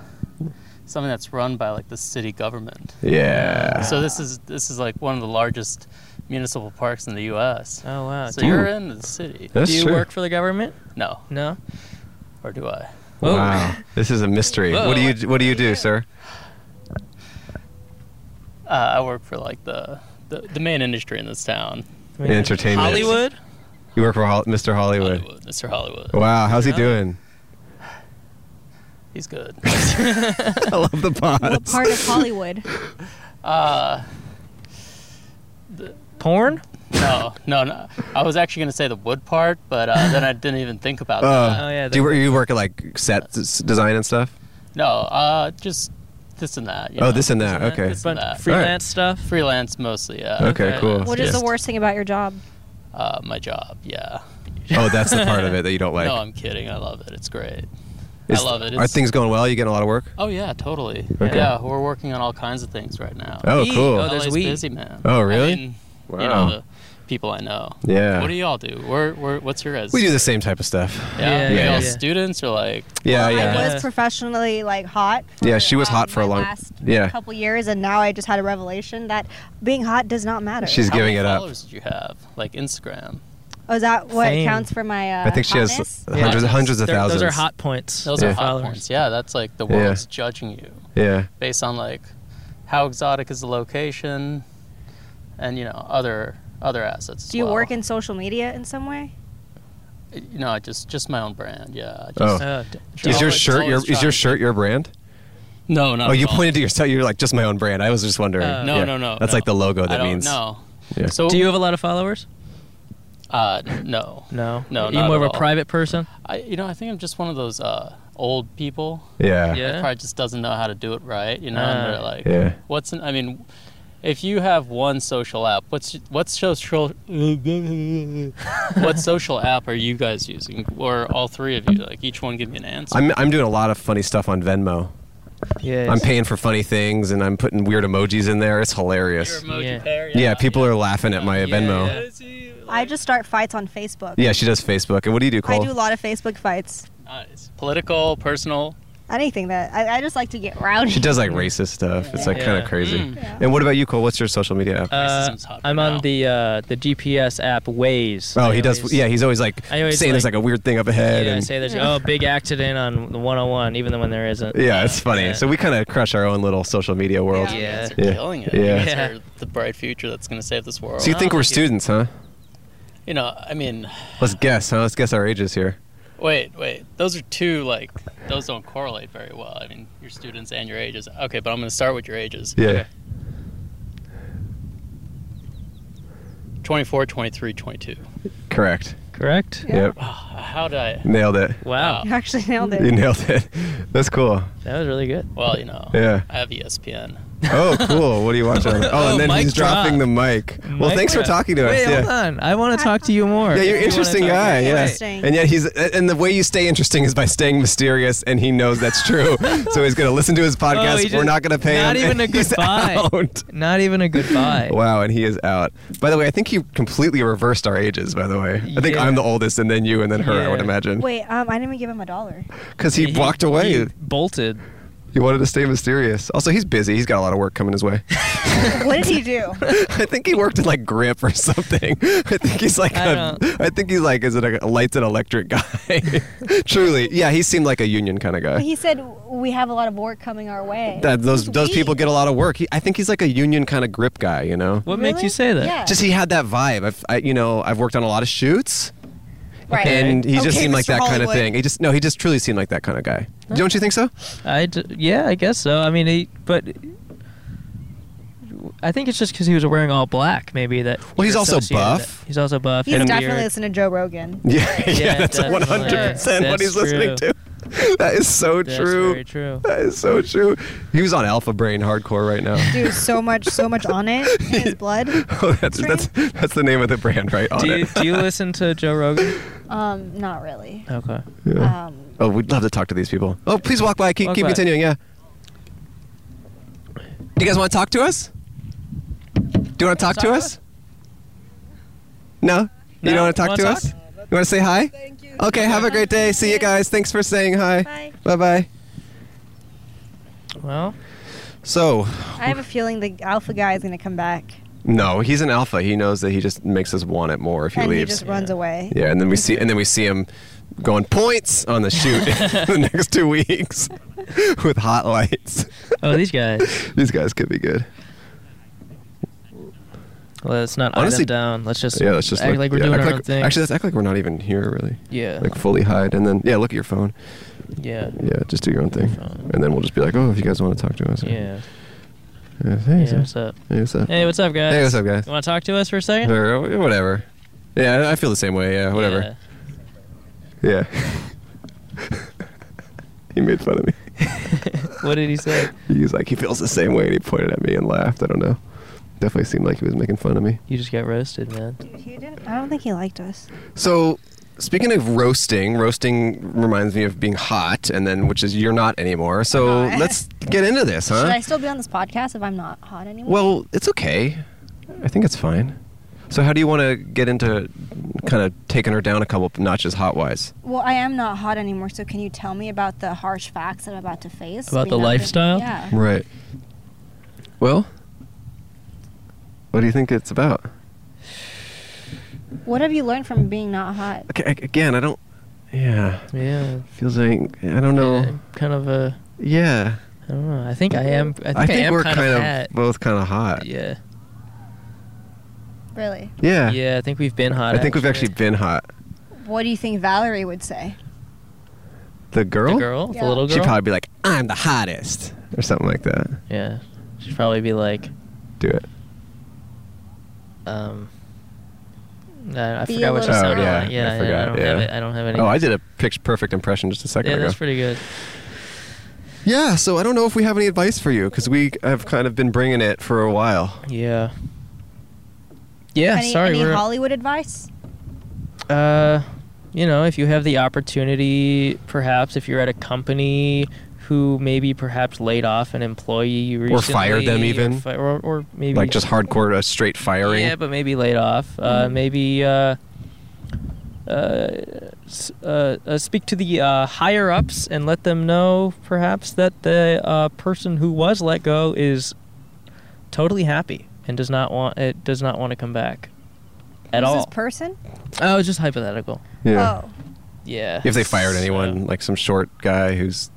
N: something that's run by like the city government.
B: Yeah.
N: So this is this is like one of the largest municipal parks in the U.S.
A: Oh wow.
N: So
A: Do you-
N: you're in the city.
B: That's
A: do you
B: true.
A: work for the government?
N: No.
A: No.
N: Or do I?
A: Whoa.
B: Wow, this is a mystery. What do you What do you do, sir?
N: Uh, I work for like the, the the main industry in this town.
B: In *laughs* entertainment. *laughs*
A: Oh. Hollywood.
B: You work for Hol- Mr. Hollywood.
N: Mr. Hollywood.
B: Wow, how's he doing?
N: He's good. *laughs*
B: I love the pause.
K: What part
B: *laughs*
K: of Hollywood?
N: Uh,
A: Porn?
N: No, no, no. I was actually gonna say the wood part, but uh, then I didn't even think about that.
B: Oh. do you, wor- you work at like set s- design and stuff?
N: No, uh, just this and that. you
B: Oh,
N: know,
B: this and that, okay.
N: This and
B: But
N: that.
B: freelance Alright.
A: stuff.
N: Freelance mostly. Yeah.
B: Okay, Okay. cool.
K: What is the worst thing about your job?
N: Uh, my job. Yeah.
A: *laughs*
B: Oh, that's the part of it that you don't like.
N: No, I'm kidding. I love it. It's great.
B: Is-
N: I love it.
B: Are
N: It's,
B: things going well? You getting a lot of work?
N: Oh yeah, totally.
B: Okay.
N: Yeah, we're working on all kinds of things right now.
B: Oh, Weed. cool. Oh,
N: LA's
B: there's weed.
N: busy, man.
B: Oh, really?
N: I mean, You
B: Wow.
N: know, the people I know.
B: Yeah.
N: What do y'all do? We're, we're, what's your guys?
B: We do the same type of stuff.
N: Yeah. Are
B: yeah,
N: y'all
B: yeah.
N: students or like?
B: Yeah,
K: I
B: yeah.
K: was professionally like hot.
B: Yeah, she was
D: um,
B: hot for a long.
K: last
B: Yeah,
K: couple years, and now I just had a revelation that being hot does not matter.
B: She's
N: How
B: giving
N: many
B: it up.
N: Followers did you have like Instagram?
K: Oh, is that what
N: Fame.
K: counts for my? Uh,
B: I think she has
K: hotness?
B: Yeah. hundreds- hundreds of
A: They're- Those are
B: thousands.
A: hot points.
N: Those
B: Yeah.
N: are hot
A: Followers.
N: points. Yeah, that's like the
B: Yeah.
N: world's judging you
B: yeah.
N: based on like how exotic is the location, and you know other other assets. as
K: Do you
N: well.
K: work in social media in some way?
N: You know, just just my own brand. Yeah. I
B: Oh,
N: Just,
A: Uh,
B: is your
N: always-
B: shirt your
N: always
B: is your
N: trying-
B: shirt your brand?
N: No, not
B: Oh,
N: at
B: you
N: all.
B: pointed to yourself. You're like just my own brand. I was just wondering.
N: Uh, no,
B: Yeah.
N: no, no,
B: That's
N: no.
B: like the logo
N: I
B: that
N: don't
B: means.
N: know.
B: Yeah.
N: So
A: Do you have a lot of followers?
N: Uh, no.
A: No.
N: No.
A: Are you
N: not
A: more of
N: at
A: a
N: all.
A: private person?
N: I, you know, I think I'm just one of those uh, old people.
B: Yeah.
N: That
A: Yeah.
N: probably just doesn't know how to do it right. You know, and
A: Ah.
N: they're like,
B: Yeah.
N: what's? An, I mean, If you have one social app, what's what social *laughs* what
A: *laughs*
N: social app are you guys using, or all three of you? Like each one, give me an answer.
B: I'm, I'm doing a lot of funny stuff on Venmo.
N: Yeah,
B: I'm paying for funny things and I'm putting weird emojis in there. It's hilarious.
N: emoji Yeah.
B: yeah. people are "Oh." laughing at my Venmo.
D: I just start fights on Facebook.
B: Yeah, she does Facebook. And what do you do,
D: I
B: Cole?
D: do a lot of Facebook fights.
N: Nice. Political, personal.
D: Anything that I, I just like to get rowdy.
B: She does like racist stuff. It's like kind
N: Yeah.
B: of crazy.
N: Mm.
B: And what about you, Cole? What's your social media app?
A: Uh, I'm on the uh, the GPS app Waze.
B: oh,
A: I
B: he does.
A: always-
B: Yeah, he's always like
A: I always,
B: saying there's
A: like-
B: like a weird thing up ahead.
A: Yeah,
B: and,
A: say there's oh big accident on the 101, even though when there isn't.
B: Yeah, it's funny.
A: yeah.
B: So we kind of crush our own little social media world.
N: You guys are
B: yeah.
N: killing it. You
B: Yeah. Oh,
N: guys are the bright future that's going to save this world.
B: So you
A: Oh,
B: think we're students, huh?
N: You know, I mean,
B: Let's guess, huh? Let's guess our ages here.
N: wait, wait. Those are two like those don't correlate very well. I mean, your students and your ages. Okay, but I'm going to start with your ages.
B: Yeah.
N: 24, 23, 22.
B: Correct.
A: Correct.
B: Yep.
N: How did I?
B: Nailed it.
N: Wow.
D: *laughs* You actually nailed it.
B: You nailed it. *laughs* That's cool.
A: That was really good.
N: Well, you know,
B: Yeah.
N: I have E ESPN.
B: Oh, cool. What are you watching? On that? Oh,
N: Oh,
B: and then
N: mic
B: he's dropping the mic. Well,
A: Mike,
B: thanks for
A: yeah.
B: talking to
A: Wait,
B: us. Yeah.
A: hold on. I want to talk to you more.
B: Yeah, you're
A: if you wanna
B: interesting
A: talk.
B: guy. Yeah,
A: Interesting.
B: and yet he's and the way you stay interesting is by staying mysterious, and he knows that's
A: *laughs*
B: true. so he's gonna listen to his
A: Oh,
B: podcast.
A: he
B: We're
A: just-
B: not gonna pay
A: not
B: him.
A: even a
B: and *laughs* he's
A: goodbye.
B: out.
A: Not even
B: *laughs*
A: a goodbye.
B: Wow, and he is out. By the way, I think he completely reversed our ages. By the way, I think
A: Yeah.
B: I'm the oldest, and then you, and then her. I would
A: Yeah.
B: imagine
D: Wait, um, I didn't even give him a dollar.
B: because he,
A: He-
B: walked away.
A: he bolted.
B: He wanted to stay mysterious. Also, he's busy. He's got a lot of work coming his
A: *laughs*
B: way.
D: what did
B: *laughs*
D: he do?
B: I think he worked at like Grip or something. I think he's like
A: I
B: a, I think he's like is it a lights and electric guy? *laughs* Truly, yeah, he seemed like a union kind of guy.
D: He said we have a lot of work coming our way.
B: That those those people get a lot of work. He, I think he's like a union kind of Grip guy. You know.
A: What makes you say that?
D: Yeah.
B: Just he had that vibe. I've I, you know I've worked on a lot of shoots.
A: Right.
B: And he just
A: Okay,
B: seemed like
A: Mr.
B: that kind of
A: Hollywood.
B: thing. He just no, he just truly seemed like that kind of guy. Don't you think so?
A: I d- yeah, I guess so. I mean, he, but I think it's just because he was wearing all black, maybe that.
B: Well, he's
A: you're
B: also
A: associated
B: buff.
A: with it. He's also buff.
D: He's
A: and
D: definitely
A: weird.
D: listening to Joe Rogan.
B: Yeah, *laughs* yeah,
A: Yeah,
B: that's
A: definitely.
B: one hundred percent what
A: That's
B: he's listening
A: true.
B: to. *laughs* That is so
A: That's
B: true.
A: very true.
B: That is so true. He was on Alpha Brain Hardcore right now.
D: Dude,
B: *laughs*
D: so much, so much on it. In his blood.
B: Oh, that's, that's that's the name of the brand, right? On
A: Do you,
B: it. *laughs*
A: do you listen to Joe Rogan?
D: Um, not really.
A: Okay.
B: Yeah.
D: Um,
B: oh, we'd love to talk to these people. Oh, please walk by. Keep,
A: Walk
B: keep
A: by.
B: continuing. Yeah. Do you guys want to talk to us? Do you want to talk to us? No? You don't want to talk
A: Wanna
B: to
A: talk?
B: us? You want to say hi? Thank you. Okay, have a great day. See you guys. Thanks for saying hi. Bye. Bye bye.
A: Well,
B: So,
D: I have a feeling the alpha guy is gonna come back,
B: no, he's an alpha. He knows that he just makes us want it more if he
D: and he
B: leaves.
D: just runs away.
B: Yeah, and then we see and then we see him going points on the
D: *laughs*
B: shoot *laughs* the next two weeks *laughs* with hot lights.
A: Oh, these guys.
B: *laughs* these guys could be good.
A: let's not
B: Honestly-
A: Honestly, down. Let's just
B: yeah, let's just
A: act
B: look-
A: like we're
B: yeah,
A: doing
B: act
A: our
B: like-
A: own thing.
B: Actually, let's act like we're not even here really.
A: Yeah.
B: Like fully hide and then yeah, look at your phone.
A: yeah,
B: Yeah, just do your own thing, and then we'll just be like, oh, if you guys want to talk to us.
A: yeah.
B: Yeah, hey,
A: Yeah, what's up?
B: Hey, what's up?
A: Hey, what's up, guys?
B: Hey, what's up, guys?
A: You want to talk to us for a second?
B: Or whatever. Yeah, I feel the same way. Yeah, whatever. Yeah. *laughs* he made fun of me.
A: *laughs* What did he say?
B: He was like, he feels the same way, and he pointed at me and laughed. I don't know. Definitely seemed like he was making fun of me.
A: You just got roasted, man.
D: I don't think he liked us.
B: So, speaking of roasting, roasting reminds me of being hot, and then which is you're not anymore. So
D: *laughs* Hi.
B: let's get into this, huh?
D: Should I still be on this podcast if I'm not hot anymore?
B: Well, it's okay. I think it's fine. So, how do you want to get into kind of taking her down a couple notches hot wise?
D: Well, I am not hot anymore. So can you tell me about the harsh facts that I'm about to face?
A: About
D: We
A: the
D: know that-
A: lifestyle?
D: Yeah.
B: Right. Well, what do you think it's about?
D: What have you learned from being not hot?
B: Okay, a- again, I don't. Yeah.
A: Yeah.
B: Feels like I don't know.
A: Kind of a.
B: Yeah.
A: I don't know. I think I am. I think, I am
B: we're
A: kind, of, hot.
B: both kind of hot.
A: Yeah.
D: Really?
B: Yeah.
A: Yeah, I think we've been hot.
B: I think we've actually been hot.
D: What do you think Valerie would say?
B: The girl.
A: girl? The Yeah. little
B: She'd
A: girl?
B: probably be like, "I'm the hottest," or something like that.
A: Yeah. Should probably be like,
B: Do it.
A: um. I, I
D: Be
A: forgot
D: a
A: what she
D: little
A: sounded
B: oh yeah,
A: like. Yeah,
B: I
A: yeah,
B: forgot.
A: don't
B: yeah.
A: have it. I don't have any.
B: Oh, I did a picture perfect impression just a second
A: Yeah,
B: ago.
A: that's pretty good.
B: Yeah, so I don't know if we have any advice for you because we have kind of been bringing it for a while.
A: Yeah. Yeah,
D: any,
A: sorry.
D: Any
A: we're,
D: Hollywood advice?
A: uh, you know, if you have the opportunity, perhaps if you're at a company who maybe perhaps laid off an employee recently,
B: Or fired them even.
A: or, fi- or, or maybe
B: Like just hardcore, uh, straight firing.
A: Yeah, but maybe laid off. Uh,
B: Mm-hmm.
A: maybe uh, uh, s- uh, uh, speak to the uh, higher ups and let them know, perhaps, that the uh, person who was let go is totally happy and does not want it does not want to come back at
D: Who's
A: all.
D: This person? Oh,
A: oh, it's just hypothetical.
B: Yeah.
A: Yeah.
B: If they fired anyone, like some short guy who's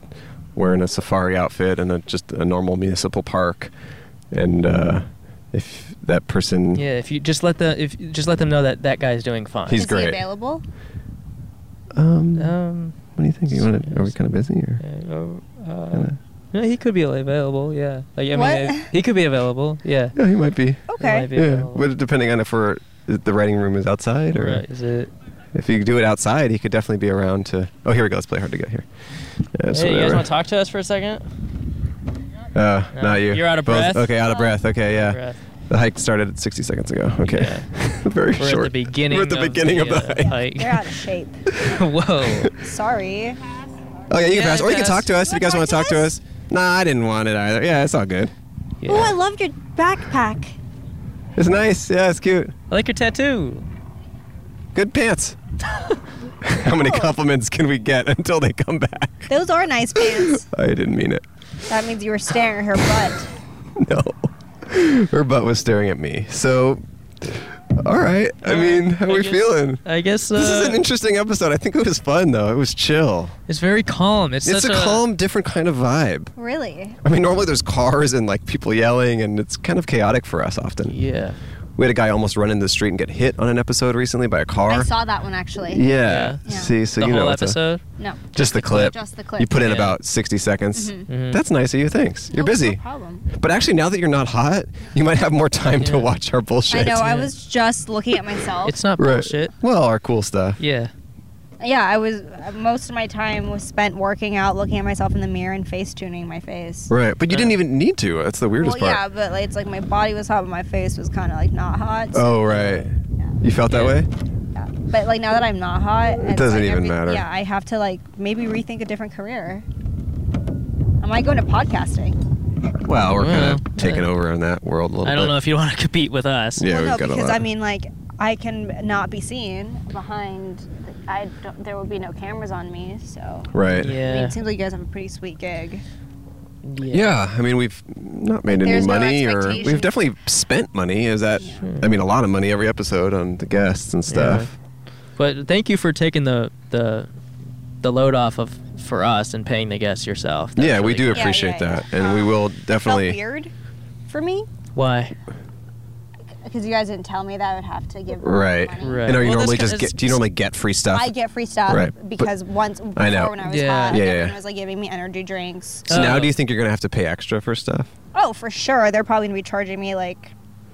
B: wearing a safari outfit in a, just a normal municipal park, and uh, if that person,
A: Yeah, if you just let the if just let them know that that guy's doing fine.
B: He's Is he great.
D: available?
B: um,
A: Um,
B: what do you think? You wanna, are we kind of busy? Or?
A: uh, no, he could be available. Yeah, like I
D: What?
A: mean, it- he could be available. Yeah.
B: Yeah, he might be.
D: Okay.
A: might be
B: Yeah,
A: available.
B: but depending on if we're if the writing room is outside or
A: Right, is it?
B: If you do it outside, he could definitely be around to. Oh, here we go. Let's play hard to get here. Yeah, so
A: Hey, you guys
B: whatever.
A: want to talk to us for a second?
B: Uh,
A: No,
B: not you.
A: you're out of
B: Both-
A: breath.
B: Okay, out of breath. Okay, yeah.
A: breath.
B: The hike started 60 seconds ago. Okay. *laughs* Very
A: We're
B: short.
A: at the beginning.
B: We're at the beginning of the
A: uh,
B: hike.
A: hike.
D: They're out of shape.
A: *laughs* Whoa. *laughs*
D: Sorry.
B: Oh yeah, you can
D: Yeah,
B: pass, or you can
D: pass.
B: talk to us. You guys want to talk to us? Nah, I didn't want it either. Yeah, it's all good.
D: Oh, I love your backpack.
B: It's nice. Yeah, it's cute.
A: I like your tattoo.
B: Good pants. How many compliments can we get until they come back?
D: Those are nice pants.
B: I didn't mean it.
D: that means you were staring at her butt.
B: No. Her butt was staring at me. So, all right. I mean, how we feeling?
A: I guess
B: this is
A: uh,
B: an interesting episode. I think it was fun though. It was chill.
A: it's very calm. It's,
B: It's,
A: such
B: a, calm, different kind of vibe.
D: Really?
B: I mean, normally there's cars and like people yelling, and it's kind of chaotic for us often.
A: Yeah.
B: We had a guy almost run into the street and get hit on an episode recently by a car.
D: I saw that one actually.
B: Yeah. See, so
A: the
B: you know
A: whole
B: it's a-
A: episode.
D: No.
B: just, the clip.
D: Just the clip.
B: You put in
D: Yeah.
B: about 60 seconds.
D: Mhm.
A: Mm-hmm.
D: Mhm.
B: That's nice of you. Thanks. You're busy.
D: problem.
B: But actually, now that you're not hot, you might have more time to watch our bullshit.
D: I know. I was just looking at myself.
A: not
B: bullshit. Well, our cool stuff.
A: Yeah.
D: yeah, I was. Most of my time was spent working out, looking at myself in the mirror, and face tuning my face.
B: Right. But you didn't even need to. That's the weirdest
D: well,
B: part.
D: yeah, but like, it's like my body was hot, but my face was kind of like not hot.
B: Oh, right. You felt that way?
D: But like now that I'm not hot, it's,
B: doesn't
D: like,
B: even
D: every-
B: matter.
D: Yeah, I have to like maybe rethink a different career. I might go into podcasting.
B: Well, we're
A: Well,
B: kind of taking over in that world a little
A: I don't
B: bit.
A: know if you want to *laughs* compete with us.
B: Yeah,
D: well,
B: we've
D: no,
B: got a
D: because
B: lot.
D: I mean, like I can not be seen behind. I don't, there will be no cameras on me, so.
B: Right.
D: I mean,
B: Yeah.
D: it seems like you guys have a pretty sweet gig.
B: Yeah. I mean, we've not made any
D: There's no
B: money, or
D: expectation.
B: we've definitely spent money. Is that? I mean, a lot of money every episode on the guests and stuff.
A: But thank you for taking the the the load off of for us and paying the guests yourself.
B: Yeah,
A: That's
B: we
A: really
B: do
A: cool.
B: appreciate that, and
D: Um,
B: we will
D: Felt
B: definitely.
D: weird for me
A: Why?
D: because you guys didn't tell me that I would have to give.
B: Right.
A: Right.
B: And are you
A: Well, that's
B: normally
A: kinda-
B: just get? Do you normally get free stuff?
D: I get free stuff
B: Right, but-
D: because once before
B: I know.
D: when I was
B: Yeah.
D: hot,
B: Yeah, yeah,
D: everyone
B: yeah.
D: was like giving me energy drinks.
B: so now, do you think you're gonna have to pay extra for stuff?
D: Oh, for sure. They're probably gonna be charging me like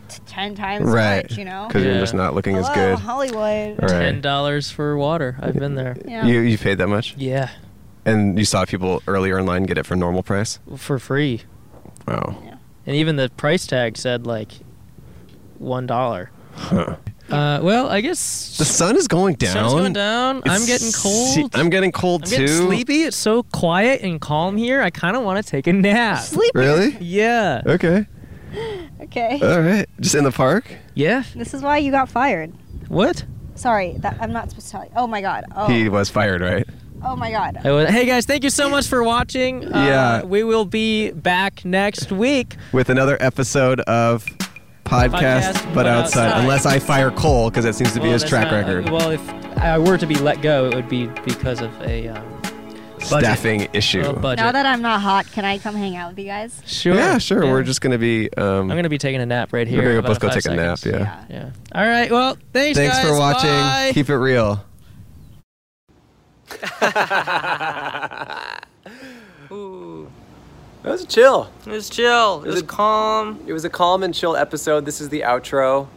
D: t- ten times as
B: right.
D: much, you know.
B: Because you're just not looking as
D: Oh. Hello,
B: good.
D: Hollywood.
B: Right.
A: Ten dollars for water. I've been there.
D: Yeah.
B: You you paid that much?
A: Yeah.
B: And you saw people earlier in line get it for normal price.
A: For free.
B: Wow.
A: And even the price tag said like one dollar.
B: Huh.
A: Uh, well, I guess
B: The sun is going down.
A: Sun's going down. I'm getting cold.
B: See, I'm getting cold
A: I'm
B: too.
A: getting sleepy. It's so quiet and calm here. I kind of want to take
B: *laughs*
A: a nap.
D: Sleepy.
B: Really?
A: Yeah.
B: Okay.
D: Okay.
B: All right. Just in the park.
A: Yeah.
D: This is why you got fired.
A: What?
D: Sorry, that I'm not supposed to tell you. Oh my god. Oh.
B: He was fired, right?
D: oh my god.
A: I was- hey guys, thank you so much for watching.
B: Yeah.
A: Uh, we will be back next week.
B: With another episode of podcast,
A: Podcast,
B: but,
A: but
B: outside.
A: outside.
B: Unless I fire Cole, because that seems to be
A: Well,
B: his
A: that's
B: track
A: not-
B: record.
A: Well, if I were to be let go, it would be because of a um, budget. Uh,
B: Staffing issue.
A: A budget.
D: Now that I'm not hot, can I come hang out with you guys?
A: sure.
B: Yeah, sure.
A: Yeah.
B: We're just gonna be. Um,
A: I'm gonna be taking a nap right here.
B: We're gonna
A: in
B: go- both go
A: about
B: take
A: five
B: a nap.
A: seconds.
B: Yeah.
A: Yeah. All right. Well, thanks.
B: Thanks
A: guys.
B: for watching.
A: Bye.
B: Keep it real.
O: Ooh,
P: That was chill.
O: it was chill. It was calm.
P: It was a calm and chill episode. This is the outro.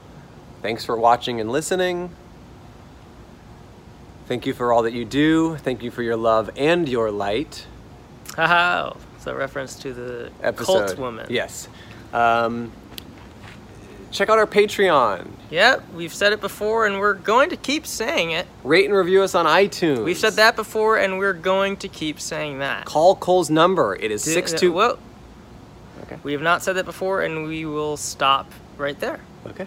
P: Thanks for watching and listening. Thank you for all that you do. Thank you for your love and your light.
O: Haha.
A: It's a reference to the
B: episode.
A: cult woman.
B: Yes. Um, check out our Patreon.
A: Yep, we've said it before and we're going to keep saying it.
B: Rate and review us on iTunes.
A: We've said that before and we're going to keep saying that.
B: Call Cole's number. It is
A: Di-
B: six
A: uh,
B: two.
A: Whoa. Okay. We have not said that before and we will stop right there.
B: Okay.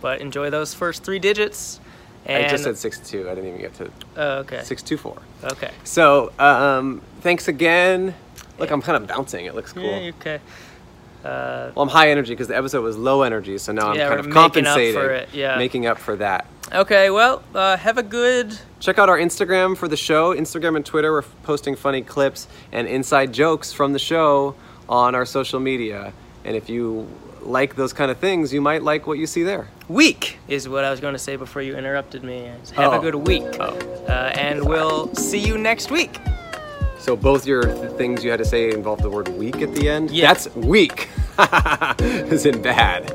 A: But enjoy those first three digits. And
B: I just said six two. I didn't even get to.
A: Oh, okay.
B: Six two four.
A: Okay.
B: So um, thanks again. Look, I'm kind of bouncing. It looks cool.
A: Yeah, you- okay. Uh,
B: Well, I'm high energy because the episode was low energy, so now I'm
A: Yeah,
B: kind
A: we're
B: of
A: making up for
B: compensating,
A: it, yeah.
B: making up for that.
A: okay, well, uh, have a good.
B: Check out our Instagram for the show. Instagram and Twitter, we're posting funny clips and inside jokes from the show on our social media. And if you like those kind of things, you might like what you see there.
A: Week is what I was going to say before you interrupted me. Have
B: Oh.
A: a good week. Uh, and we'll see you next week.
B: So both your th- things you had to say involved the word weak at the end? Yeah. That's weak. *laughs* Is in bad.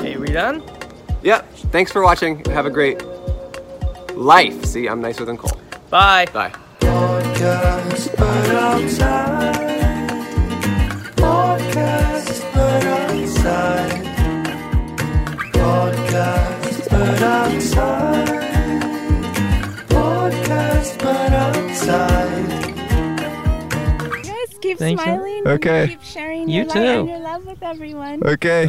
A: Hey, we done?
B: Yeah. Thanks for watching. Have a great life. See, I'm nicer than Cole.
A: Bye.
B: Bye.
C: Podcast, but outside. Podcast, but outside. Podcast, but outside. Podcast, but outside.
D: You guys keep
Q: Thanks, Al.
D: smiling.
Q: Okay.
D: And keep sharing
Q: You
D: your light and
Q: too.
D: your love with everyone.
Q: Okay.